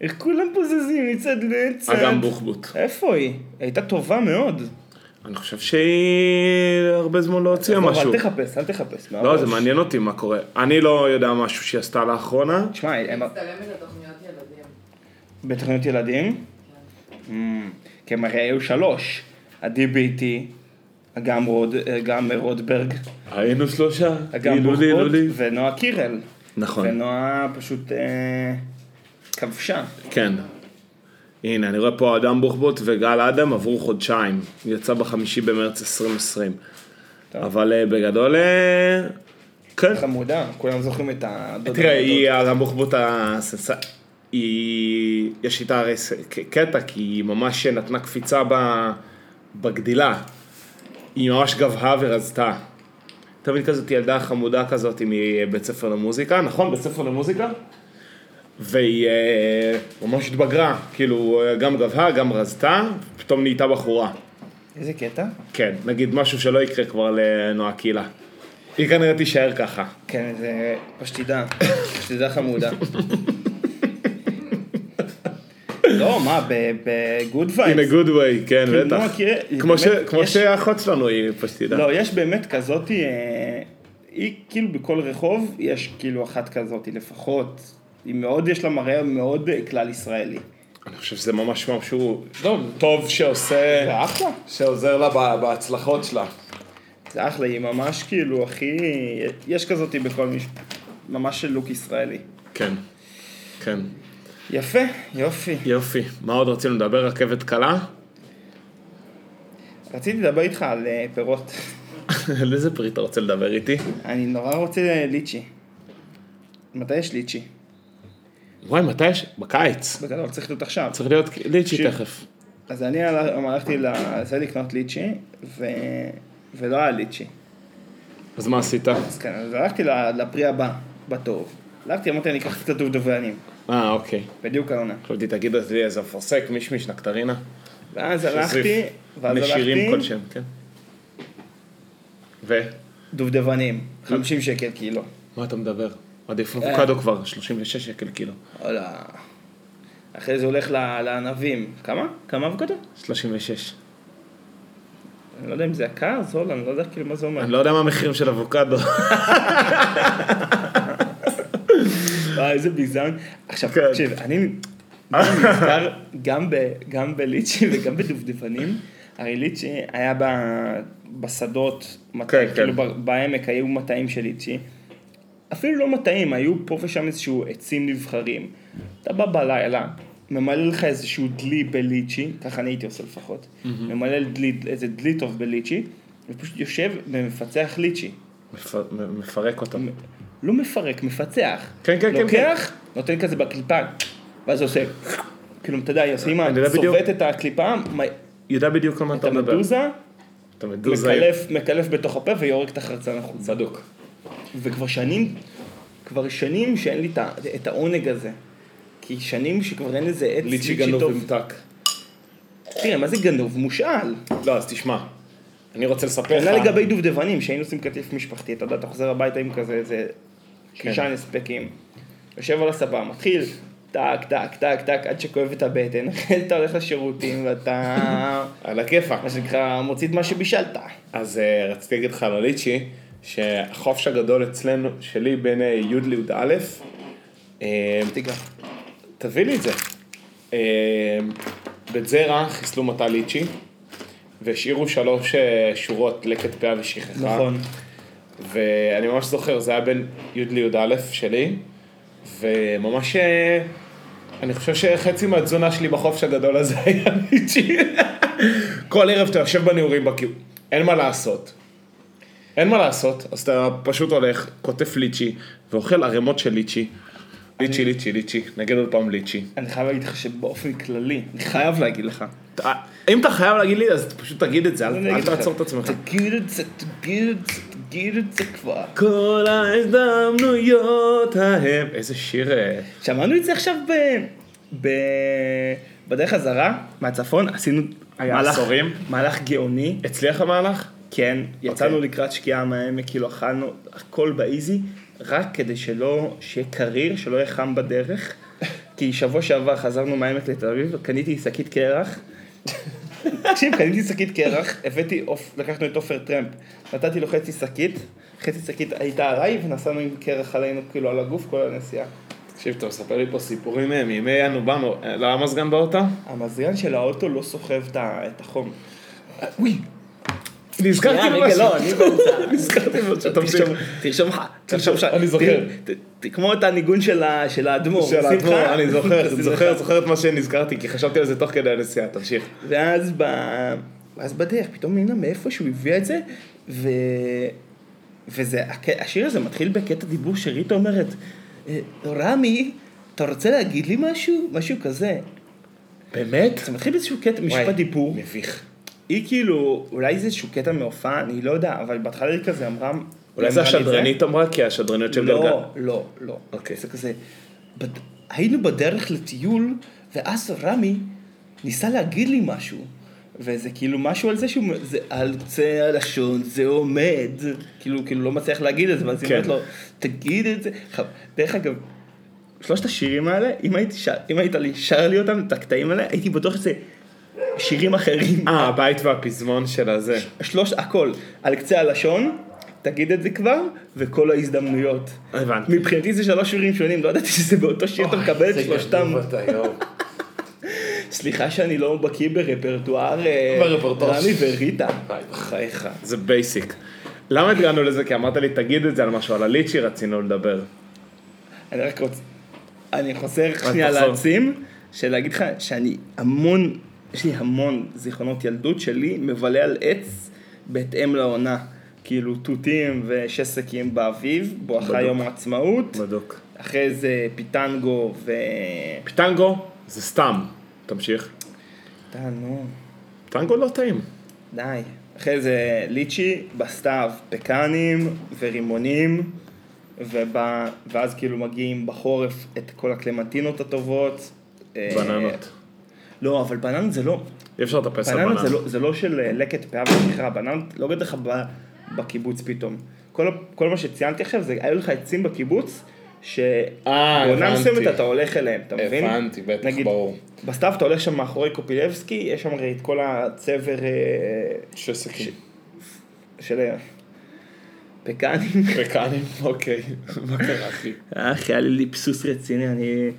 B: איך כולם בוזזים מצד לצד.
A: אגם בוחבוט.
B: איפה היא? היא הייתה טובה מאוד.
A: אני חושב שהיא הרבה זמן לא הוציאה
B: אבל
A: משהו.
B: אל תחפש, אל תחפש.
A: לא,
B: מהראש.
A: זה מעניין אותי מה קורה. אני לא יודע משהו שהיא עשתה לאחרונה.
B: תשמע, הם-
E: מצטלמת לתוכניות ילדים.
B: בתוכניות ילדים? אמ, כי הם הרי היו שלוש. ה-DBT, אגם רוד- אה, גם רודברג,
A: היינו שלושה.
B: אגם
A: לולי,
B: בוחבוט
A: לולי.
B: ונועה קירל.
A: נכון.
B: ונועה פשוט אה, כבשה.
A: כן. הנה, אני רואה פה אדם בוחבוט וגל אדם עברו חודשיים. יצא בחמישי במרץ 2020. אבל אה, בגדול... אה, כן.
B: חמודה, כולם זוכרים את הדודות.
A: תראה, היא אדם בוחבוט הסנסה... היא... יש איתה הרי ס- ק- קטע, כי היא ממש נתנה קפיצה ב... בגדילה. היא ממש גבהה ורזתה. תמיד כזאת ילדה חמודה כזאת מבית ספר למוזיקה, נכון? בית ספר למוזיקה? והיא אה, ממש התבגרה, כאילו אה, גם גבהה, גם רזתה, פתאום נהייתה בחורה.
B: איזה קטע?
A: כן, נגיד משהו שלא יקרה כבר לנועה קילה. היא כנראה תישאר ככה.
B: כן, זה פשטידה, פשטידה חמודה. לא, מה, ב- בגוד
A: In
B: וייבס.
A: a good way, כן,
B: כאילו,
A: בטח.
B: נועה קירל, היא
A: כמו ש-
B: באמת-
A: כמו
B: יש-
A: שהאחות שלנו היא פשטידה.
B: לא, יש באמת כזאת, אה, היא כאילו בכל רחוב, יש כאילו אחת כזאת לפחות. היא מאוד, יש לה מראה מאוד אה, כלל ישראלי.
A: אני חושב שזה ממש משהו טוב שעושה,
B: זה אחלה.
A: שעוזר לה ב- בהצלחות שלה.
B: זה אחלה, היא ממש כאילו הכי... יש כזאת בכל משפט. ממש של לוק ישראלי.
A: כן, כן.
B: יפה, יופי.
A: יופי, מה עוד רצינו לדבר? רכבת קלה?
B: רציתי לדבר איתך על אה, פירות.
A: על איזה פרי אתה רוצה לדבר איתי?
B: אני נורא רוצה אה, ליצ'י. מתי יש ליצ'י?
A: וואי, מתי יש? בקיץ.
B: בגדול צריך להיות עכשיו.
A: צריך להיות ליצ'י
B: שיר.
A: תכף.
B: אז אני הל- הלכתי לזה לקנות ליצ'י, ו... ולא היה ליצ'י.
A: אז מה עשית?
B: אז כן, אז הלכתי ל- לפרי הבא, בטוב. הלכתי, אמרתי, אני אקח את הדובדבנים.
A: אה, אוקיי.
B: בדיוק העונה.
A: חשבתי, תגיד אז לי איזה אפרסק, מישמיש, נקטרינה.
B: ואז
A: שזריף.
B: הלכתי, ואז
A: משירים
B: הלכתי,
A: כלשהם, כן. ו?
B: דובדבנים, 50 שקל קילו.
A: מה אתה מדבר? עדיף
B: אה.
A: אבוקדו כבר, 36 שקל קילו.
B: וואלה. אחרי זה הולך ל- לענבים. כמה? כמה אבוקדו?
A: 36.
B: אני לא יודע אם זה יקר, זול, אני לא יודע כאילו מה זה אומר.
A: אני לא יודע מה המחירים של אבוקדו.
B: וואי, איזה ביזיון. עכשיו,
A: כן.
B: תקשיב, אני נזכר גם ב- גם בליצ'י וגם בדובדבנים. הרי ליצ'י היה ב- בשדות, מטע,
A: כן,
B: כאילו
A: כן.
B: ב- בעמק היו מטעים של ליצ'י. אפילו לא מטעים, היו פה ושם איזשהו עצים נבחרים. אתה בא בלילה, ממלא לך איזשהו דלי בליצ'י, ככה אני הייתי עושה לפחות, ממלא דלי, איזה דלי טוב בליצ'י, ופשוט יושב ומפצח ליצ'י.
A: מפ- מ- מפרק אותו.
B: לא מפרק, מפצח.
A: כן, כן, כן,
B: לוקח, נותן כזה בקליפה, ואז עושה, כאילו, אתה יודע, עושה עם ה...
A: אני יודע בדיוק.
B: צובט את הקליפה, מ-
A: יודע בדיוק על מה
B: את
A: אתה מדבר.
B: המדוזה,
A: אתה מדוזה.
B: מקלף, מקלף בתוך הפה ויורק את החרצן החוצה. בדוק. וכבר שנים, כבר שנים שאין לי את ה- את העונג הזה. כי שנים שכבר אין איזה עץ
A: ליצ'י
B: ליצ'י
A: גנוב
B: טוב.
A: ומתק.
B: תראה, מה זה גנוב? מושאל.
A: לא, אז תשמע. אני רוצה לספר
B: כנ"ל
A: לך.
B: לגבי דובדבנים, שהיינו עושים קטיף משפחתי, אתה יודע, אתה חוזר הביתה עם כזה איזה שישה נספקים, יושב על הספה, מתחיל, טק, טק, טק, טק, עד שכואב את הבטן, אחרי זה אתה הולך לשירותים ואתה,
A: על הכיפאק.
B: מה שנקרא, מוציא את מה שבישלת.
A: אז אה, רציתי להגיד לך על הליצ'י, שהחופש הגדול אצלנו, שלי בין אה, י' לי"א, אה,
B: תיגע.
A: תביא לי את זה. אה, בזרע חיסלו מטע ליצ'י, והשאירו שלוש אה, שורות לקט פאה ושכחה.
B: נכון.
A: ואני ממש זוכר, זה היה בין י' לי"א שלי, וממש... אה, אני חושב שחצי מהתזונה שלי בחופש הגדול הזה היה ליצ'י. כל ערב אתה יושב בניעורים בקיו... אין מה לעשות. אין מה לעשות, אז אתה פשוט הולך, קוטף ליצ'י, ואוכל ערימות של ליצ'י. ליצ'י, ליצ'י, ליצ'י, נגיד עוד פעם ליצ'י.
B: אני חייב להגיד לך שבאופן כללי, אני חייב להגיד לך.
A: אתה- אם אתה חייב להגיד לי, אז פשוט תגיד את זה, אל-
B: אני
A: אל
B: אגיד לך.
A: תעצור את עצמך.
B: תגיד את זה, תגיד את זה, תגיד את זה כבר.
A: כל ההזדמנויות ההם. איזה שיר... אה,
B: שמענו את זה עכשיו ב... ב... בדרך חזרה מהצפון, עשינו
A: היה עשורים? אוקיי.
B: מהלך גאוני,
A: הצליח המהלך?
B: כן, יצאנו לקראת שקיעה מהעמק, כאילו אכלנו הכל באיזי, רק כדי שלא, שיהיה קריר, שלא יהיה חם בדרך, כי שבוע שעבר חזרנו מהעמק לתל אביב, קניתי שקית קרח. תקשיב, קניתי שקית קרח, הבאתי, עוף- לקחנו את עופר טרמפ, נתתי לו חצי שקית, חצי שקית הייתה עליי, ונסענו עם קרח עלינו, כאילו על הגוף, כל הנסיעה.
A: תקשיב, אתה מספר לי פה סיפורים אה, מימי אנו באנו. אה, לא היה מזגן באוטו?
B: המזגן של האוטו לא סוחב את ה- את החום.
A: נזכרתי
B: רגע,
A: במשהו.
B: לא, אני באמצע.
A: נזכרתי במשהו. תמשיך.
B: תרשום- תרשום לך, תרשום לך,
A: אני זוכר.
B: ת- ת- כמו את הניגון של ה- של האדמו"ר,
A: של
B: שמחה.
A: האדמו"ר, אני זוכר,
B: תשים
A: זוכר,
B: לך.
A: זוכר את מה שנזכרתי, כי חשבתי על זה תוך כדי הנסיעה, תמשיך.
B: ואז ב- ואז בדרך, פתאום נהנה מאיפה שהוא הביא את זה, ו... וזה, הק- השיר הזה מתחיל בקטע דיבור שרית אומרת, "אה, רמי, אתה רוצה להגיד לי משהו? משהו כזה.
A: באמת?
B: זה מתחיל באיזשהו קטע, משפט דיבור.
A: מביך.
B: היא כאילו, אולי זה איזשהו קטע מהופעה, אני לא יודע, אבל בהתחלה היא כזה אמרה...
A: אולי זה
B: אמרה לי את
A: השדרנית אמרה, כי השדרנית של גלגל.
B: לא, לא, לא.
A: אוקיי.
B: זה כזה, בד... היינו בדרך לטיול, ואז רמי ניסה להגיד לי משהו. וזה כאילו משהו על זה שהוא, מ- זה על קצה הלשון, זה עומד. כאילו, כאילו לא מצליח להגיד את זה, ואז היא
A: כן.
B: אומרת לו, תגיד את זה. ח- דרך אגב, שלושת השירים האלה, אם, הייתי שר, אם היית לי, שר לי אותם, את הקטעים האלה, הייתי בטוח שזה שירים אחרים.
A: אה, הבית והפזמון של הזה.
B: שלוש, הכל, על קצה הלשון, תגיד את זה כבר, וכל ההזדמנויות.
A: הבנתי.
B: מבחינתי זה שלוש שירים שונים, לא ידעתי שזה באותו שיר אתה מקבל את שלושתם. סליחה שאני לא בקיא ברפרטואר אה,
A: ברפרטואר.
B: רמי וריטה. בחייך.
A: זה בייסיק. למה הגענו לזה? כי אמרת לי, תגיד את זה על משהו, על הליצ'י רצינו לדבר.
B: אני רק רוצה, אני חוזר שנייה
A: תחזור.
B: לעצים, שלהגיד לך שאני המון, יש לי המון זיכרונות ילדות שלי מבלה על עץ בהתאם לעונה. כאילו תותים ושסקים באביב, בואכה
A: בדוק.
B: יום העצמאות.
A: בדוק.
B: אחרי זה פיטנגו ו...
A: פיטנגו זה סתם. תמשיך.
B: אתה נו,
A: טנגו לא טעים.
B: די. אחרי זה ליצ'י, בסתיו פקנים ורימונים, ובא, ואז כאילו מגיעים בחורף את כל הקלמנטינות הטובות. אה,
A: בננות.
B: לא, אבל בננות זה לא,
A: אי אפשר לטפס על בננה.
B: בננות זה לא, זה לא של אה, לקט פאה ושכרה, בננות לא עובד לך ב- בקיבוץ פתאום. כל, ה- כל מה שציינתי עכשיו זה, היו לך עצים בקיבוץ,
A: אה,
B: שבעונה
A: הבנתי.
B: מסוימת אתה הולך אליהם, אתה מבין?
A: הבנתי, בטח,
B: נגיד,
A: ברור.
B: בסתיו אתה הולך שם מאחורי קופילבסקי, יש שם הרי את כל הצבר אה,
A: שסקים.
B: של אה, פקנים.
A: פקנים, אוקיי. מה קרה, אחי?
B: אך, היה לי ליפסוס רציני, אני...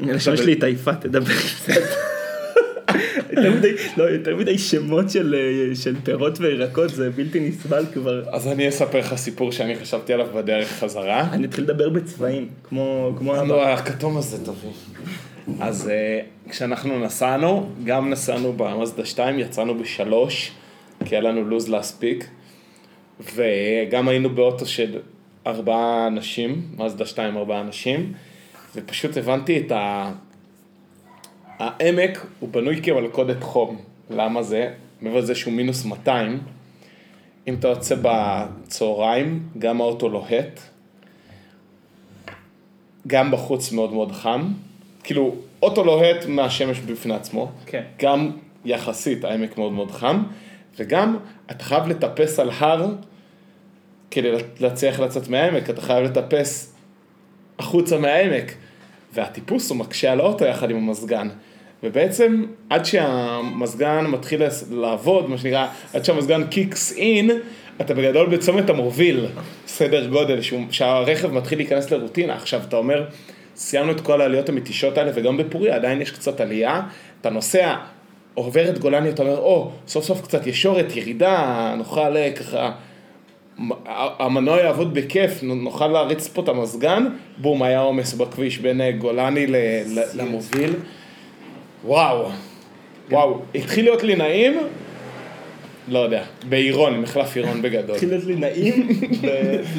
B: הלשון שלי היא עייפה, תדבר קצת. יותר מדי- לא, יותר מדי שמות של, אה, של פירות וירקות, זה בלתי נסבל כבר.
A: אז אני אספר לך סיפור שאני חשבתי עליו בדרך חזרה.
B: אני אתחיל לדבר בצבעים, כמו... כמו אבא.
A: לא, הכתום הזה תביא. אז אה, כשאנחנו נסענו, גם נסענו במאזדה 2, יצאנו בשלוש, כי היה לנו לוז להספיק, וגם היינו באוטו של ארבעה אנשים, מאזדה 2 ארבעה אנשים, ופשוט הבנתי את ה... העמק הוא בנוי כמלכודת חום, למה זה? מעבר לזה שהוא מינוס 200, אם אתה יוצא בצהריים, גם האוטו לוהט, גם בחוץ מאוד מאוד חם, כאילו אוטו לוהט מהשמש בפני עצמו,
B: כן.
A: גם יחסית העמק מאוד מאוד חם, וגם אתה חייב לטפס על הר כדי להצליח לצאת מהעמק, אתה חייב לטפס החוצה מהעמק, והטיפוס הוא מקשה על האוטו יחד עם המזגן. ובעצם עד שהמזגן מתחיל לס- לעבוד, מה שנקרא, עד שהמזגן קיקס אין, אתה בגדול בצומת המוביל, סדר גודל, שהוא, שהרכב מתחיל להיכנס לרוטינה. עכשיו, אתה אומר, סיימנו את כל העליות המתישות האלה, וגם בפוריה עדיין יש קצת עלייה, אתה נוסע, עובר את גולני, אתה אומר, או, סוף סוף קצת ישורת, ירידה, נוכל אה, ככה המנוע יעבוד בכיף, נוכל להריץ פה את המזגן, בום, היה עומס בכביש בין אה, גולני ל- ל- למוביל. וואו, וואו, התחיל להיות לי נעים, לא יודע, בעירון, מחלף עירון בגדול.
B: התחיל להיות לי נעים,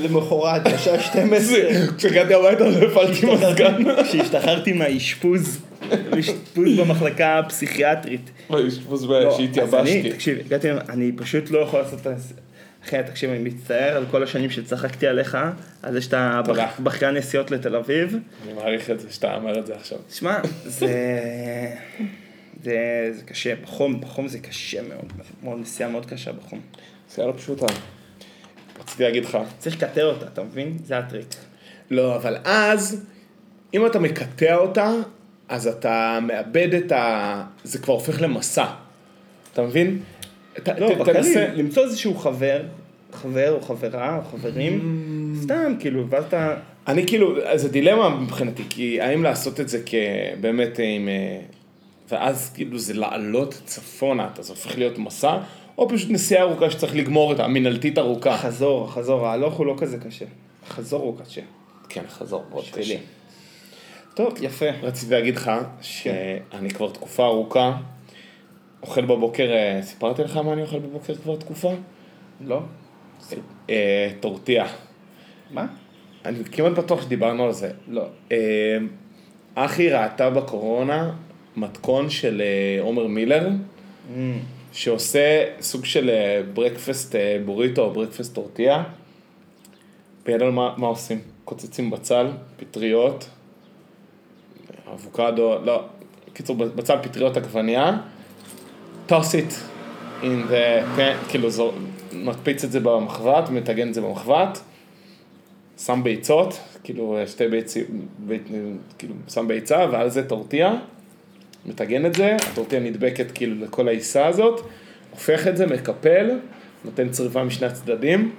C: למחרת, בשעה 12,
A: זה- כשהגעתי הביתה לא הפעלתי מזגן.
B: כן. כשהשתחררתי מהאשפוז, אשפוז במחלקה הפסיכיאטרית.
A: לא, אשפוז
B: לא, אז
A: שהתייבשתי.
B: אני, תקשיב, הגעתי, אני פשוט לא יכול לעשות את ה... אחי, תקשיב, אני מצטער על כל השנים שצחקתי עליך, על זה שאתה
A: תודה.
B: בח- בחריין נסיעות לתל אביב.
A: אני מעריך את זה שאתה אומר את זה עכשיו.
B: שמע, זה... זה, זה קשה, בחום, בחום זה קשה מאוד, מאוד נסיעה מאוד קשה בחום.
A: זה היה לא פשוטה. רציתי להגיד לך,
B: צריך לקטר אותה, אתה מבין? זה הטריק.
A: לא, אבל אז, אם אתה מקטע אותה, אז אתה מאבד את ה... זה כבר הופך למסע. אתה מבין? אתה-
B: לא,
A: ת-
B: בקליל,
A: תנסה-
B: למצוא איזשהו חבר, חבר או חברה או חברים, סתם, כאילו, ואז אתה...
A: אני כאילו, אז זה דילמה מבחינתי, כי האם לעשות את זה כבאמת עם... אה, ואז כאילו זה לעלות צפונה, אתה זה הופך להיות מסע, או פשוט נסיעה ארוכה שצריך לגמור אותה, מינהלתית ארוכה.
B: חזור, חזור, ההלוך הוא לא כזה קשה. חזור הוא קשה.
A: כן, חזור מאוד
B: שלילי.
A: קשה.
B: טוב, יפה.
A: רציתי להגיד לך שאני כבר תקופה ארוכה אוכל בבוקר, אה, סיפרתי לך מה אני אוכל בבוקר כבר תקופה?
B: לא?
A: אה, טורטיה.
B: מה?
A: אני כמעט בטוח שדיברנו על זה.
B: לא.
A: אה, אחי ראתה בקורונה מתכון של אה, עומר מילר, שעושה סוג של אה, ברקפסט אה, בוריטו או ברקפסט טורטיה. בידל מה, מה עושים? קוצצים בצל, פטריות, אבוקדו, לא, קיצור, בצל פטריות עגבנייה, toss it in the, pan, כאילו זו, מקפיץ את זה במחבת, מטגן את זה במחבת, שם ביצות, כאילו שתי ביצים, בית, כאילו שם ביצה ועל זה טורטיה, מטגן את זה, הטורטיה נדבקת כאילו לכל העיסה הזאת, הופך את זה, מקפל, נותן צריבה משני הצדדים.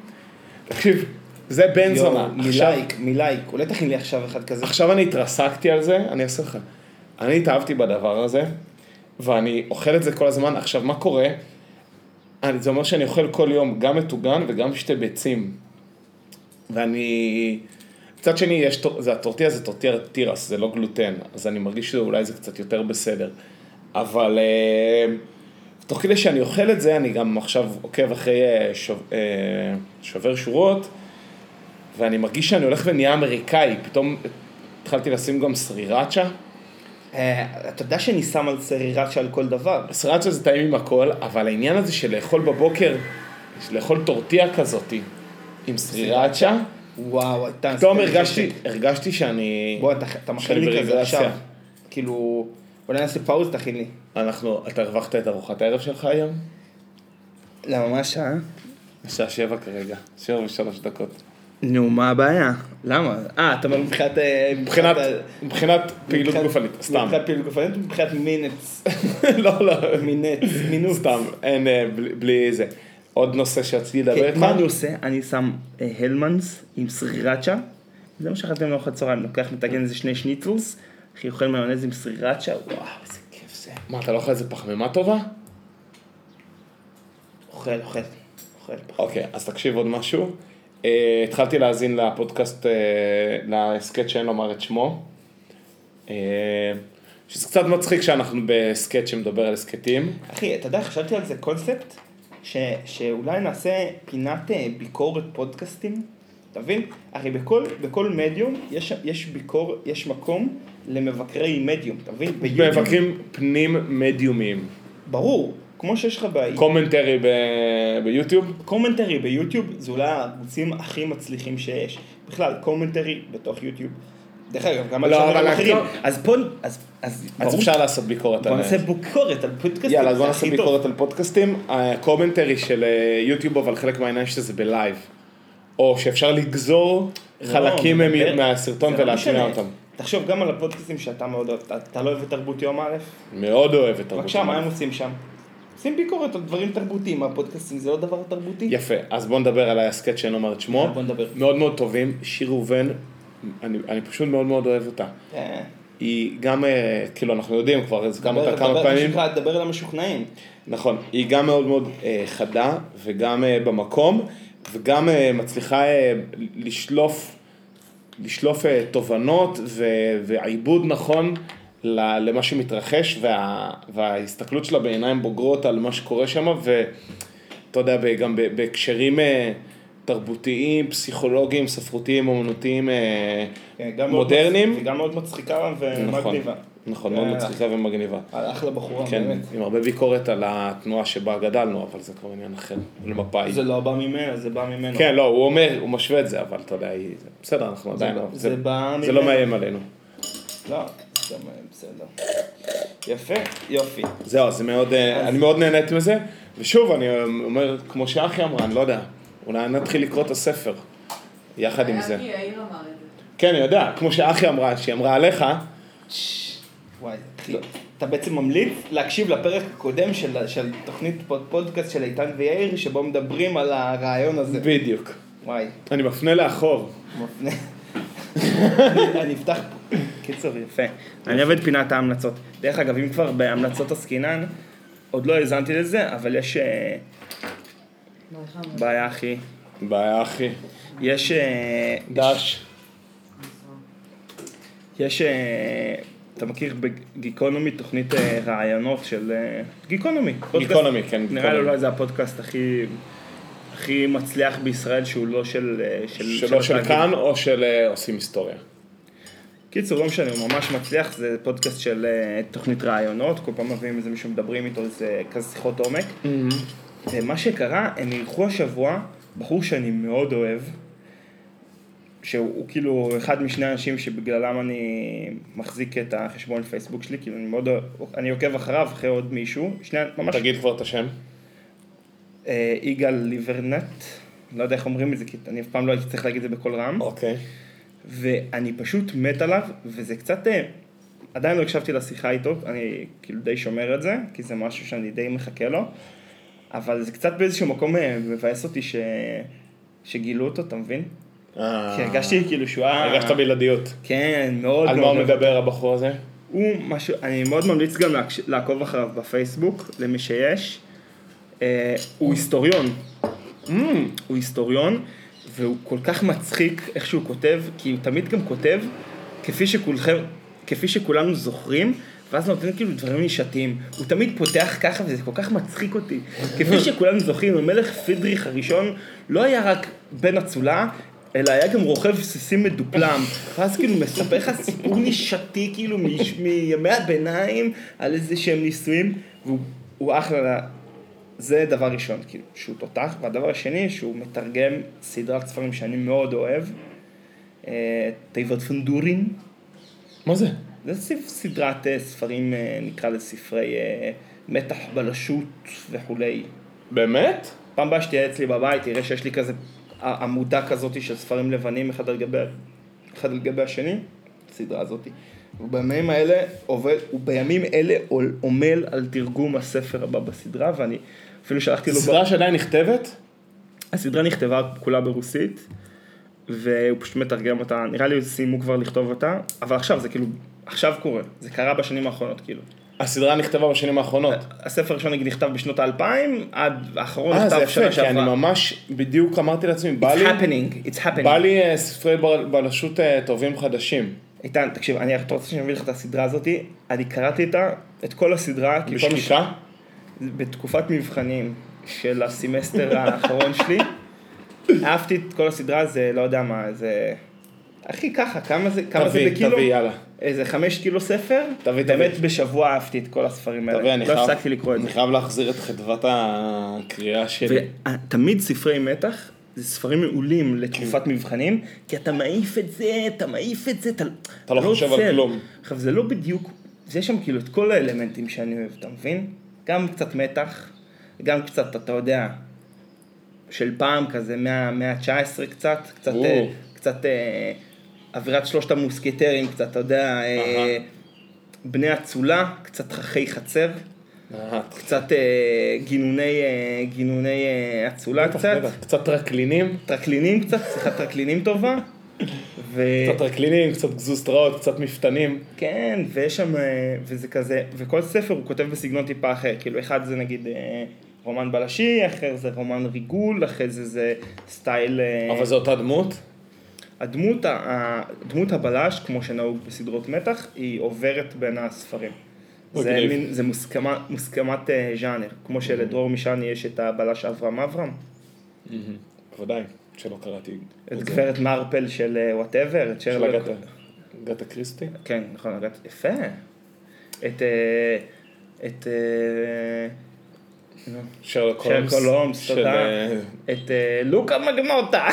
A: תקשיב, זה בן זונה.
B: יואו,
A: עכשיו-
B: מלייק, מלייק. אולי תכין לי עכשיו אחד כזה.
A: עכשיו אני התרסקתי על זה, אני אעשה לך. אני התאהבתי בדבר הזה, ואני אוכל את זה כל הזמן. עכשיו, מה קורה? אני, זה אומר שאני אוכל כל יום גם מטוגן וגם שתי ביצים. ואני... מצד שני, יש, טור- זה הטורטיה, זה טורטיה תירס, זה לא גלוטן, אז אני מרגיש שאולי זה קצת יותר בסדר. אבל אה, תוך כדי שאני אוכל את זה, אני גם עכשיו עוקב אחרי אה, שוב, אה, שובר שורות, ואני מרגיש שאני הולך ונהיה אמריקאי, פתאום התחלתי לשים גם סרירצ'ה.
B: אה, אתה יודע שאני שם על סרירצ'ה על כל דבר.
A: סרירצ'ה זה טעים עם הכל, אבל העניין הזה של לאכול בבוקר, של לאכול טורטיה כזאתי עם סרירצ'ה,
B: וואו, הייתה...
A: פתאום הרגשתי, הרגשתי שאני...
B: בוא, אתה- אתה מכין
A: שאני
B: לי כזה
A: ברגרסיה.
B: עכשיו. כאילו, אולי נעשה פאוז, תכין לי.
A: אנחנו, אתה הרווחת את ארוחת הערב שלך היום?
B: למה, מה השעה?
A: השעה שבע כרגע, שבע ושלוש דקות.
B: נו, מה הבעיה? למה? אה, אתה אומר מבחינת... אה,
A: מבחינת,
B: ה-
A: מבחינת פעילות
B: מבחינת-
A: גופנית, סתם.
B: מבחינת פעילות גופנית, מבחינת מינץ.
A: לא, לא,
B: מינץ, מינוץ.
A: סתם, אין, אה, בלי- בלי זה. עוד נושא שרציתי לדבר
B: כן, מה אני
A: איתך?
B: עושה? אני שם אה, הלמנס עם סרירצ'ה, זה מה שאכלתי לארוחת צהריים, לוקח מתגן איזה שני שניצלס, אחי, אוכל מיונז עם סרירצ'ה, וואו, איזה כיף זה.
A: מה, אתה לא אוכל איזה פחמימה טובה?
B: אוכל, אוכל. אוכל פחות.
A: אוקיי, אז תקשיב עוד משהו. אה, התחלתי להאזין לפודקאסט, אה, להסכת שאין לומר את שמו. אה, שזה קצת מצחיק שאנחנו בהסכת שמדבר על הסכתים.
B: אחי, אתה יודע, חשבתי על זה קונספט, ש, שאולי נעשה פינת אה, ביקורת פודקאסטים, אתה מבין? אחי, בכל, בכל מדיום יש, יש ביקור, יש מקום למבקרי מדיום, אתה מבין? ביוטיוב,
A: מבקרים פנים מדיומיים.
B: ברור, כמו שיש לך ב...
A: קומנטרי ב- ביוטיוב.
B: קומנטרי ביוטיוב זה אולי הערוצים הכי מצליחים שיש. בכלל, קומנטרי בתוך יוטיוב. דרך אגב, גם על
A: לא,
B: שאר
A: אבל
B: אחרים.
A: לא.
B: אז פה, אז, אז,
A: אז
B: ברור,
A: אפשר לעשות ביקורת
B: בוא
A: על
B: נעשה ביקורת על פודקאסטים,
A: יאללה, אז
B: זה
A: בוא
B: הכי
A: נעשה
B: טוב.
A: ביקורת על פודקאסטים. הקומנטרי של אה, יוטיוב, אבל חלק מהעניין שזה בלייב. או שאפשר לגזור
B: לא,
A: חלקים
B: הוא מדבר.
A: מהם- מהסרטון
B: זה לא
A: ולהטמיע
B: משנה.
A: אותם.
B: תחשוב גם על הפודקאסטים שאתה מאוד אוהב, אתה- אתה לא אוהב את תרבות יום א',
A: מאוד אוהב את תרבות.
B: בבקשה, מה
A: שלנו.
B: הם עושים שם? עושים ביקורת על דברים תרבותיים, הפודקאסטים זה לא דבר תרבותי?
A: יפה, אז בוא נדבר על ההסכת שאני לא אומר את שמו.
B: בוא נדבר.
A: מאוד מאוד טובים, שיר ראובן, אני, אני פשוט מאוד מאוד אוהב אותה.
B: אה, היא
A: גם, אה, כאילו, אנחנו יודעים כבר, אז גם אותה כמה
B: דבר-
A: פעמים.
B: מה שנקרא, דבר למשוכנעים.
A: נכון, היא גם מאוד מאוד אה, חדה, וגם אה, במקום, וגם אה, מצליחה אה, לשלוף, לשלוף אה, תובנות ו, ועיבוד נכון ל- למה שמתרחש, וה, וההסתכלות שלה בעיניים בוגרות על מה שקורה שם, ואתה יודע, ב- גם ב- בהקשרים אה, תרבותיים, פסיכולוגיים, ספרותיים, אומנותיים, אה,
B: כן, גם מאוד
A: מודרניים.
B: מצ- היא גם מאוד מצחיקה
A: נכון,
B: ומגניבה.
A: נכון, מאוד
B: יאללה.
A: מצחיקה ומגניבה.
B: אחלה בחורה,
A: כן,
B: באמת.
A: עם הרבה ביקורת על התנועה שבה גדלנו, אבל זה כבר עניין אחר, למפאי.
B: זה לא בא ממנה, זה בא ממנו.
A: כן, לא, הוא אומר, הוא משווה את זה, אבל אתה יודע, היא- זה- בסדר, אנחנו עדיין,
B: לא-
A: אבל
B: זה בא
A: זה לא
B: ממנו.
A: מאיים עלינו.
B: לא, זה בסדר. יפה, יופי.
A: זהו, זה מאוד, אה, אני מאוד נהניתי מזה, ושוב, אני אה, אומר, כמו שאחי אמרה, אני לא יודע, אולי נתחיל לקרוא את הספר, יחד עם זה.
E: כי יאיר אמר את זה.
A: כן, אני יודע, כמו שאחי אמרה, שהיא אמרה עליך,
B: וואי, אחי, אתה בעצם ממליץ להקשיב לפרק הקודם של, של תוכנית פוד, פודקאסט של איתן ויאיר, שבו מדברים על הרעיון הזה.
A: בדיוק.
B: וואי,
A: אני מפנה לאחור.
B: מפנה. אני- אני אפתח פה. קיצור, יפה. אני אוהב את פינת ההמלצות. דרך אגב, אם כבר בהמלצות עסקינן, עוד לא האזנתי לזה, אבל יש אה, בעיה, אחי.
A: בעיה, אחי.
B: יש... אה,
A: דש.
B: יש, אה, אתה מכיר בגיקונומי תוכנית אה, רעיונות של אה, גיקונומי. פודקאסט-
A: גיקונומי, כן,
B: נראה לי לא-
A: גיקונומי.
B: אולי זה הפודקאסט הכי הכי מצליח בישראל שהוא לא של... אה,
A: שלו של
B: התאגיד.
A: כאן או של אה, עושים היסטוריה.
B: קיצור, לא משנה, הוא ממש מצליח, זה פודקאסט של אה, תוכנית רעיונות, כל פעם מביאים איזה מישהו מדברים איתו, זה כזה שיחות עומק. ומה שקרה, הם אירחו השבוע בחור שאני מאוד אוהב, שהוא הוא כאילו אחד משני האנשים שבגללם אני מחזיק את החשבון פייסבוק שלי, כאילו אני מאוד אוהב, אני עוקב אחריו, אחרי עוד מישהו, שני, ממש,
A: תגיד כבר את השם.
B: אה, יגאל ליברנט, לא יודע איך אומרים את זה, כי אני אף פעם לא הייתי צריך להגיד את זה בקול רם.
A: אוקיי.
B: ואני פשוט מת עליו, וזה קצת... אה, עדיין לא הקשבתי לשיחה איתו, אני כאילו די שומר את זה, כי זה משהו שאני די מחכה לו, אבל זה קצת באיזשהו מקום אה, מבאס אותי ש... שגילו אותו, אתה מבין? כי
A: אה,
B: הרגשתי כאילו שהוא היה...
A: הרגשת בלעדיות.
B: כן, מאוד
A: על מה
B: מאוד.
A: הוא מדבר הבחור הזה?
B: הוא משהו, אני מאוד ממליץ גם להקש... לעקוב אחריו בפייסבוק, למי שיש. אה, הוא היסטוריון. Mm. הוא היסטוריון, והוא כל כך מצחיק איך שהוא כותב, כי הוא תמיד גם כותב כפי שכולכם, כפי שכולנו זוכרים. ואז נותן כאילו דברים נישתיים, הוא תמיד פותח ככה וזה כל כך מצחיק אותי. כפי שכולנו זוכרים, המלך פידריך הראשון לא היה רק בן אצולה, אלא היה גם רוכב סוסים מדופלם. ואז כאילו מספר לך סיפור נישתי כאילו מש- מימי הביניים על איזה שהם נישואים, והוא הוא אחלה זה דבר ראשון, כאילו, שהוא תותח, והדבר השני, שהוא מתרגם סדרת ספרים שאני מאוד אוהב, אה, תיבת פונדורים,
A: מה זה?
B: זה ספ- סדרת אה, ספרים, אה, נקרא לזה ספרי אה, מתח בלשות וכולי.
A: באמת?
B: פעם הבאה שתהיה אצלי בבית, תראה שיש לי כזה ע- עמודה כזאת של ספרים לבנים אחד על גבי, אחד על גבי השני, סדרה הזאת. ובימים האלה, עובד, ובימים אלה עול- עמל על תרגום הספר הבא בסדרה, ואני
A: כאילו,
B: אפילו שלחתי לו... ב-
A: סדרה שעדיין נכתבת?
B: הסדרה נכתבה כולה ברוסית, והוא פשוט מתרגם אותה, נראה לי סיימו כבר לכתוב אותה, אבל עכשיו זה כאילו, עכשיו קורה, זה קרה בשנים האחרונות כאילו.
A: הסדרה נכתבה בשנים האחרונות.
B: הספר הראשון נגיד נכתב בשנות האלפיים, עד האחרון
A: אה, זה
B: נכתב שנה
A: יפה, כי אני
B: שעברה.
A: ממש, בדיוק אמרתי לעצמי, בא
B: It's
A: לי,
B: happening, it's
A: בא
B: happening.
A: לי אה, ספרי בר- בלשות אה, טובים חדשים.
B: איתן, תקשיב, אני אתה רוצה שאני אביא לך את הסדרה הזאתי, אני קראתי אותה, את כל הסדרה, כי כל מה ש-
A: בשקיקה?
B: בתקופת מבחנים של הסמסטר האחרון שלי, אהבתי את כל הסדרה, זה לא יודע מה, זה... אחי, ככה, כמה זה, כמה זה כאילו-
A: תביא,
B: בקילו?
A: תביא, יאללה.
B: איזה חמש קילו ספר,
A: תביא,
B: באמת בשבוע אהבתי את כל הספרים האלה,
A: תביא, אני
B: לא
A: חייב,
B: הפסקתי לקרוא את זה.
A: אני חייב להחזיר את חדוות הקריאה שלי.
B: ותמיד ספרי מתח זה ספרים מעולים
A: כן.
B: לתקופת מבחנים, כי אתה מעיף את זה, אתה מעיף את זה, אתה,
A: לא חושב על
B: עוצר.
A: כלום.
B: עכשיו זה לא בדיוק, זה שם כאילו את כל האלמנטים שאני אוהב, אתה מבין? גם קצת מתח, גם קצת, אתה יודע, של פעם כזה, מה- מהמאה ה-19 קצת, קצת,
A: או.
B: אה, קצת אה, אווירת שלושת המוסקטרים, קצת, אתה יודע, אה, בני אצולה, קצת חכי חצר.
A: אה,
B: קצת אה, גינוני, אה, גינוני אה, אצולה קצת,
A: בטח, קצת טרקלינים,
B: טרקלינים קצת, שיחת טרקלינים טובה, ו...
A: קצת טרקלינים, קצת גזוסטראות, קצת מפתנים.
B: כן, ויש שם, אה, וזה כזה, וכל ספר הוא כותב בסגנון טיפה אחר, כאילו אחד זה נגיד אה, רומן בלשי, אחר זה רומן ריגול, אחרי זה זה סטייל, אה,
A: אבל זו אותה דמות?
B: הדמות, ה- ה- דמות הבלש, כמו שנהוג בסדרות מתח, היא עוברת בין הספרים. זה,
A: מגניב.
B: מין, זה מוסכמה, מוסכמת אה, ז'אנר, כמו שלדרור משעני יש את הבלש אברהם אברהם.
A: בוודאי, שלא קראתי.
B: את גברת מרפל של וואטאבר, את
A: אוקיי. של
B: שרלוק.
A: הגת- הגת קריסטי?
B: כן, נכון, הגעת, יפה. את... אה, את... אה,
A: שרלוק
B: שרלוק
A: הולמס.
B: הולמס,
A: של,
B: תודה.
A: אה,
B: את אה, לוקה מגמוטה.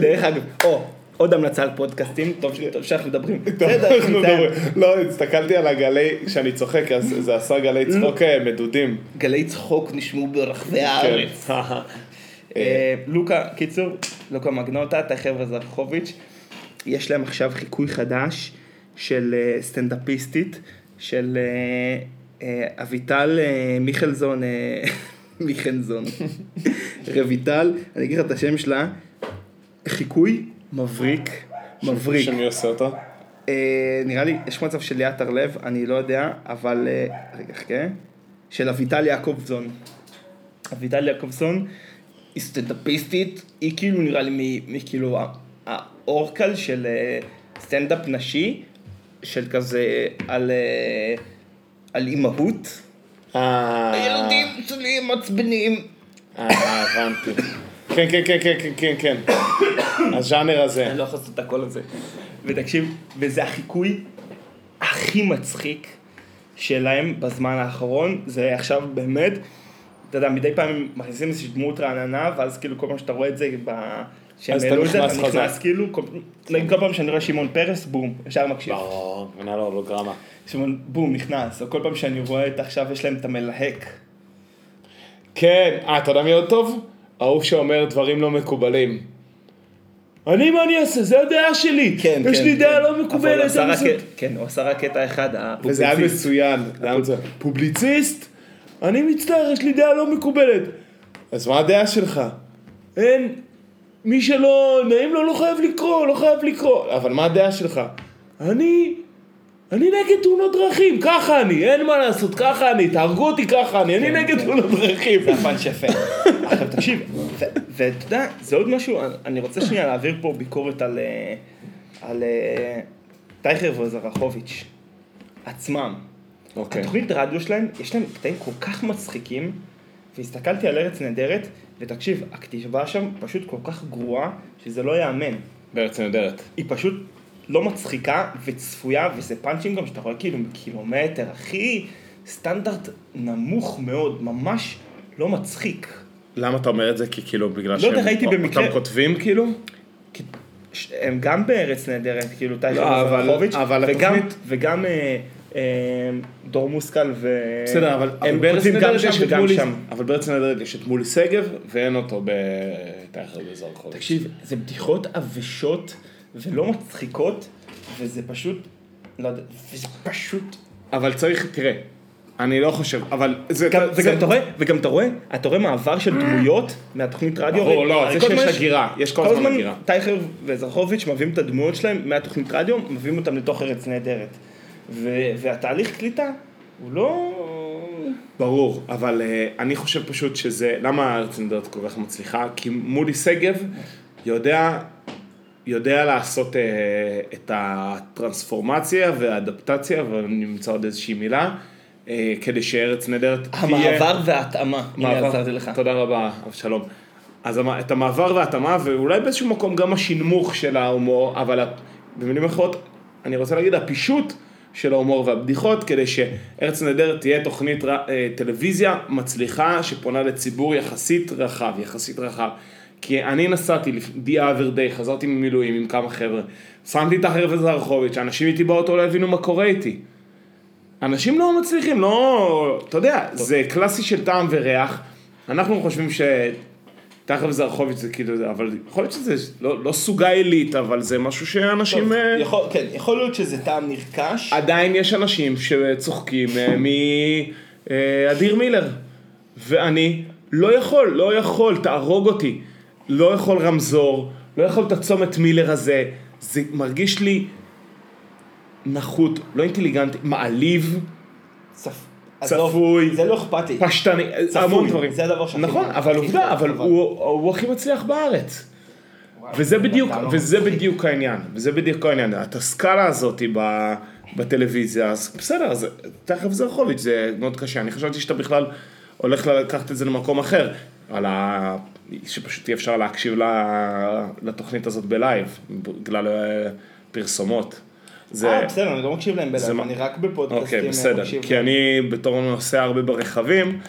B: דרך אגב, או, עוד המלצה על פודקאסטים, טוב ש- טוב שאנחנו מדברים. בסדר,
A: אנחנו
B: נמצא.
A: מדברים. לא, הסתכלתי על הגלי, כשאני צוחק, אז זה עשה גלי צחוק
B: לא.
A: אה, מדודים.
B: גלי צחוק נשמעו
A: כן.
B: ברחבי הארץ. אה, לוקה, קיצור, לוקה מגנוטה, את החבר'ה זרחוביץ', יש להם עכשיו חיקוי חדש של אה, סטנדאפיסטית, של אה, אה, אביטל אה, מיכלזון, אה, מיכלזון, רויטל, אני אגיד לך את השם שלה, חיקוי מבריק, מבריק.
A: שמי עושה אותו?
B: אה, נראה לי, יש מצב של ליאת הרלב, אני לא יודע, אבל... אה, רגע, חכה. של אביטל יעקובזון. אביטל יעקובזון היא סטנדאפיסטית, היא כאילו נראה לי מ- מכאילו ה- האורקל של אה, סטנדאפ נשי, של כזה על... אה, על אימהות.
A: אה,
B: הילדים שלי הם מעצבנים.
A: אה, הבנתי. כן, כן, כן, כן, כן, כן, כן. הז'אנר הזה.
B: אני לא יכול לעשות את הקול הזה. ותקשיב, וזה החיקוי הכי מצחיק שלהם בזמן האחרון, זה עכשיו באמת, אתה יודע, מדי פעם הם מכניסים איזושהי דמות רעננה, ואז כאילו כל פעם שאתה רואה את זה, ב... שהם
A: אז אתה
B: העלו את זה,
A: נכנס
B: אתה
A: חזק.
B: נכנס כאילו, כל... נגיד כל פעם שאני רואה שמעון פרס, בום, ישר מקשיב. לא,
A: ברור, מנהל ההולוגרמה.
B: שמעון, בום, נכנס, או כל פעם שאני רואה את עכשיו, יש להם את המלהק.
A: כן, אה, אתה יודע מי עוד טוב? ההוא שאומר דברים לא מקובלים. אני, מה אני אעשה? זה הדעה שלי. יש לי דעה לא
B: כן, אבל הוא
A: מקובלת.
B: עשה
A: אני
B: רק-
A: זה-
B: כן, הוא עשה רק קטע אחד,
A: וזה היה
B: הפובליציסט.
A: מצוין. זה היה מצוין. פובליציסט? אני מצטער, יש לי דעה לא מקובלת. אז מה הדעה שלך? אין... מי שלא נעים לו לא חייב לקרוא, לא חייב לקרוא. אבל מה הדעה שלך? אני... אני נגד תאונות דרכים, ככה אני, אין מה לעשות, ככה אני, תהרגו אותי ככה אני, אני נגד תאונות דרכים.
B: כן, זה הפאנץ' יפה. עכשיו תקשיב, ו- ואתה יודע, זה עוד משהו, אני רוצה שנייה להעביר פה ביקורת על אה, על אה, טייכר וזרחוביץ' עצמם.
A: אוקיי.
B: התוכנית רדיו שלהם, יש להם קטעים כל כך מצחיקים, והסתכלתי על ארץ נהדרת, ותקשיב, הכתיבה שם פשוט כל כך גרועה, שזה לא ייאמן.
A: בארץ נהדרת.
B: היא פשוט לא מצחיקה וצפויה, וזה פאנצ'ים גם שאתה רואה כאילו מקילומטר, הכי סטנדרט נמוך מאוד, ממש לא מצחיק.
A: למה אתה אומר את זה? כי כאילו בגלל
B: לא יודע, ראיתי במקרה- אה,
A: אותם כותבים כאילו?
B: כי ש- הם גם בארץ נהדרת, כאילו טייכר
A: לא, אבל-
B: וזרחוביץ',
A: אבל
B: וגם,
A: התוכנית-
B: וגם אה, אה, דור מושכל ו...
A: בסדר, אבל
B: הם כותבים גם שם וגם שם.
A: אבל בארץ נהדרת יש את מולי שגב ואין אותו בתאחר בזרחוב.
B: תקשיב, זה בדיחות עבשות ולא מצחיקות, וזה פשוט, לא יודע, וזה פשוט
A: אבל צריך, תראה, אני לא חושב, אבל זה...
B: גם-
A: זה-
B: וגם אתה רואה, וגם אתה רואה, אתה רואה מעבר של דמויות מהתוכנית רדיו.
A: ברור,
B: הרי-
A: לא,
B: הרי
A: זה
B: כל
A: שיש
B: הזמן יש-
A: הגירה, יש כל הזמן הגירה.
B: טייכר וזרחוביץ' מביאים את הדמויות שלהם מהתוכנית רדיו, מביאים אותם לתוך ארץ נהדרת. ו- והתהליך קליטה הוא לא...
A: ברור, אבל אה, אני חושב פשוט שזה, למה ארץ נהדרת כל כך מצליחה? כי מולי שגב יודע, יודע לעשות אה, את הטרנספורמציה והאדפטציה, ונמצא עוד איזושהי מילה, אה, כדי שארץ נהדרת תהיה...
B: המעבר וההתאמה, הנה
A: מעבר.
B: עזרתי לך.
A: תודה רבה, אבשלום. אז המ- את המעבר וההתאמה, ואולי באיזשהו מקום גם השנמוך של ההומור, אבל ה- במילים אחרות, אני רוצה להגיד, הפישוט של ההומור והבדיחות, כדי שארץ נהדרת תהיה תוכנית ר- אה, טלוויזיה מצליחה, שפונה לציבור יחסית רחב, יחסית רחב. כי אני נסעתי לפ- The Other Day, חזרתי ממילואים עם כמה חבר'ה, שמתי את החרב הזרחוביץ', אנשים איתי באוטו לא הבינו מה קורה איתי. אנשים לא מצליחים, לא... אתה יודע, זה קלאסי של טעם וריח. אנחנו חושבים ש... תכף זרחוביץ' זה כאילו, זה, אבל יכול להיות שזה לא, לא סוגה עילית, אבל זה משהו שאנשים... אה,
B: יכול, כן, יכול להיות שזה טעם נרכש.
A: עדיין יש אנשים שצוחקים אה, מאדיר מילר. ואני לא יכול, לא יכול, תהרוג אותי. לא יכול רמזור, לא יכול את הצומת מילר הזה. זה מרגיש לי נחות, לא אינטליגנטי, מעליב.
B: צפ- עזוב,
A: צפוי.
B: זה לא אכפת לי.
A: פשטני,
B: צפוי,
A: המון דברים.
B: זה הדבר שהכי
A: נכון,
B: מעצבן.
A: אבל
B: הכי אה,
A: עובדה,
B: מעצבן.
A: אבל הוא הוא הכי מצליח בארץ. וזה בדיוק,
C: אתה לא
A: וזה בדיוק העניין, וזה בדיוק העניין, את הסקאלה הזאת ב- בטלוויזיה, אז בסדר, אז תכף זרחוביץ', זה מאוד קשה, אני חשבתי שאתה בכלל הולך לקחת את זה למקום אחר, על ה... שפשוט אי אפשר להקשיב ל- לתוכנית הזאת בלייב, בגלל אה, פרסומות. זה...
B: אה, בסדר, אני לא מקשיב להם
A: זה
B: בלב,
A: מה-
B: אני רק
A: אוקיי,
B: בפודקאסטים אה,
A: בסדר,
B: מקשיב
A: כי אני בתור נוסע הרבה ברכבים,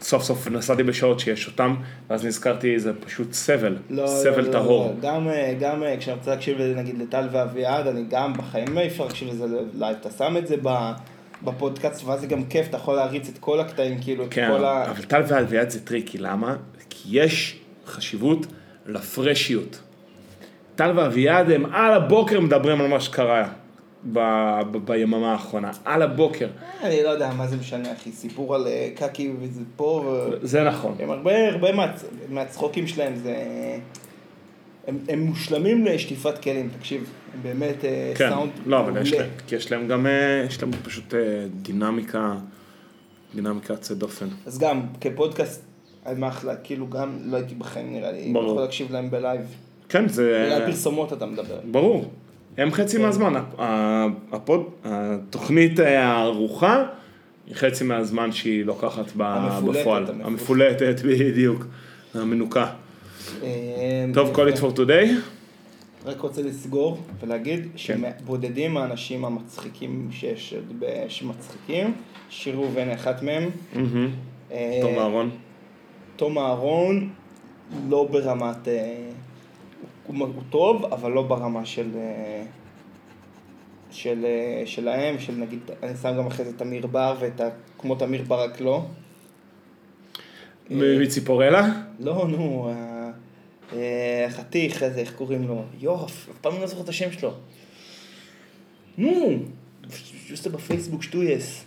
A: סוף סוף נסעתי בשעות שיש אותם, ואז נזכרתי, זה פשוט סבל,
B: לא,
A: סבל
B: לא, לא,
A: טהור.
B: לא. גם, אה, גם אה, כשאני רוצה להקשיב לזה, נגיד לטל ואביעד, אני גם בחיים לא אפשר להקשיב לזה לייב, אתה שם את זה ב- בפודקאסט, ואז זה גם כיף, אתה יכול להריץ את כל הקטעים, כאילו, את
A: כן,
B: כל ה...
A: אבל טל ואלוויאד זה טריקי, למה? כי יש חשיבות לפרשיות. טל ואביעד הם על הבוקר מדברים על מה שקרה ב- ב- ביממה האחרונה, על הבוקר.
B: אני לא יודע מה זה משנה, אחי, סיפור על אה, קקי וזה פה, ו-
A: זה נכון.
B: הם הרבה, הרבה מה- מהצחוקים שלהם זה... הם, הם מושלמים לשטיפת כלים, תקשיב, הם באמת אה,
A: כן,
B: סאונד
A: לא, אבל יש
B: מעולה.
A: להם, כי יש להם גם, אה, יש להם פשוט אה, דינמיקה, דינמיקה יוצאת דופן.
B: אז גם, כפודקאסט, הם אחלה, כאילו גם לא הייתי בחיים נראה לי,
A: ברור.
B: יכול להקשיב להם בלייב.
A: כן, זה...
B: בגלל כן. פרסומות אתה מדבר.
A: ברור. הם חצי מהזמן. ה- הפוד, התוכנית הארוחה היא חצי מהזמן שהיא לוקחת ב-
B: המפולטת,
A: בפועל.
B: המפולטת.
A: המפולטת, בדיוק. המנוקה.
B: אה,
A: טוב, call it for today.
B: רק רוצה לסגור ולהגיד
A: כן.
B: שבודדים האנשים המצחיקים שיש, ב- שמצחיקים, שירו ואין אחת מהם. אה,
A: תום אהרון.
B: תום אהרון לא ברמת... אה, הוא הוא טוב, אבל לא ברמה של... אה, של, אה, שלהם, של נגיד, אני שם גם אחרי זה תמיר בר ואת ה... כמו תמיר בר רק לא.
A: מ- מציפורלה?
B: לא, נו, ה- אה, החתיך הזה, איך קוראים לו? יוף, אף פעם אני לא זוכר את השם שלו. נו, שעושה בפייסבוק שטויס.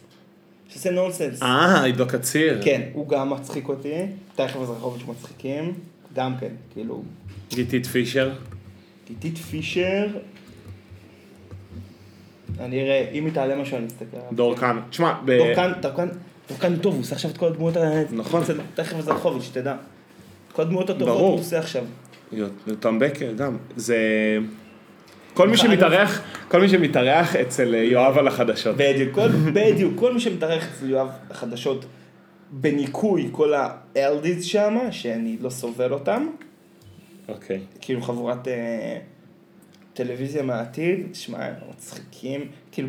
B: שעושה נונסנס.
A: אה, עידו קציר.
B: כן, הוא גם מצחיק אותי. תכף אזרחוביץ' מצחיקים. גם כן, כאילו,
A: גיתית פישר.
B: גיתית פישר. אני אראה, אם היא תעלה משהו אני אסתכל עליו.
A: דור כאן. תשמע, ב-
B: דורקן, דורקן, דורקן טוב, הוא עושה עכשיו את כל הדמויות ה...
A: אה, נכון.
B: תכף אזרחוביץ', שתדע. כל הדמויות הטובות
A: ברור.
B: הוא עושה עכשיו.
A: יותם בקר גם. זה... כל
B: לא
A: מי שמתארח, כל מי שמתארח אצל יואב על החדשות.
B: בדיוק, כל, בדיוק, כל מי שמתארח אצל יואב החדשות בניקוי כל האלדיז שם, שאני לא סובל אותם,
A: אוקיי.
B: כאילו חבורת אה, טלוויזיה מהעתיד, שמע, הם מצחיקים, כאילו,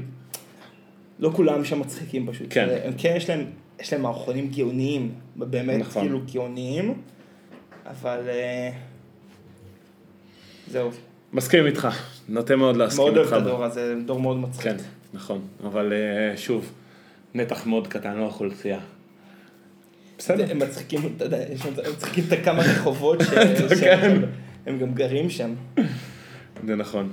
B: לא כולם שם מצחיקים פשוט,
A: כן.
B: הם כן יש להם, יש להם מערכונים גאוניים, באמת,
A: נכון.
B: כאילו גאוניים, אבל אה, זהו,
A: מסכים איתך, נוטה מאוד להסכים
B: מאוד אוהב
A: איתך.
B: את הדור הזה, דור מאוד מצחיק.
A: כן, נכון, אבל אה, שוב, נתח מאוד קטן לא לאוכלוסייה. בסדר.
B: הם מצחיקים, אתה יודע, יש שם- הם מצחיקים את הכמה רחובות ש- שהם
A: כן.
B: שם- הם גם גרים שם.
A: זה נכון.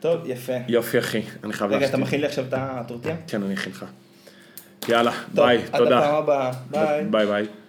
B: טוב, יפה.
A: יופי אחי, אני חייב
B: רגע,
A: להשתיק.
B: אתה מכין לי עכשיו את הטורטיה?
A: כן, אני אכין לך.
B: יאללה, ביי,
A: עד הפעם
B: תודה.
A: הבאה, ביי.
B: ביי ביי.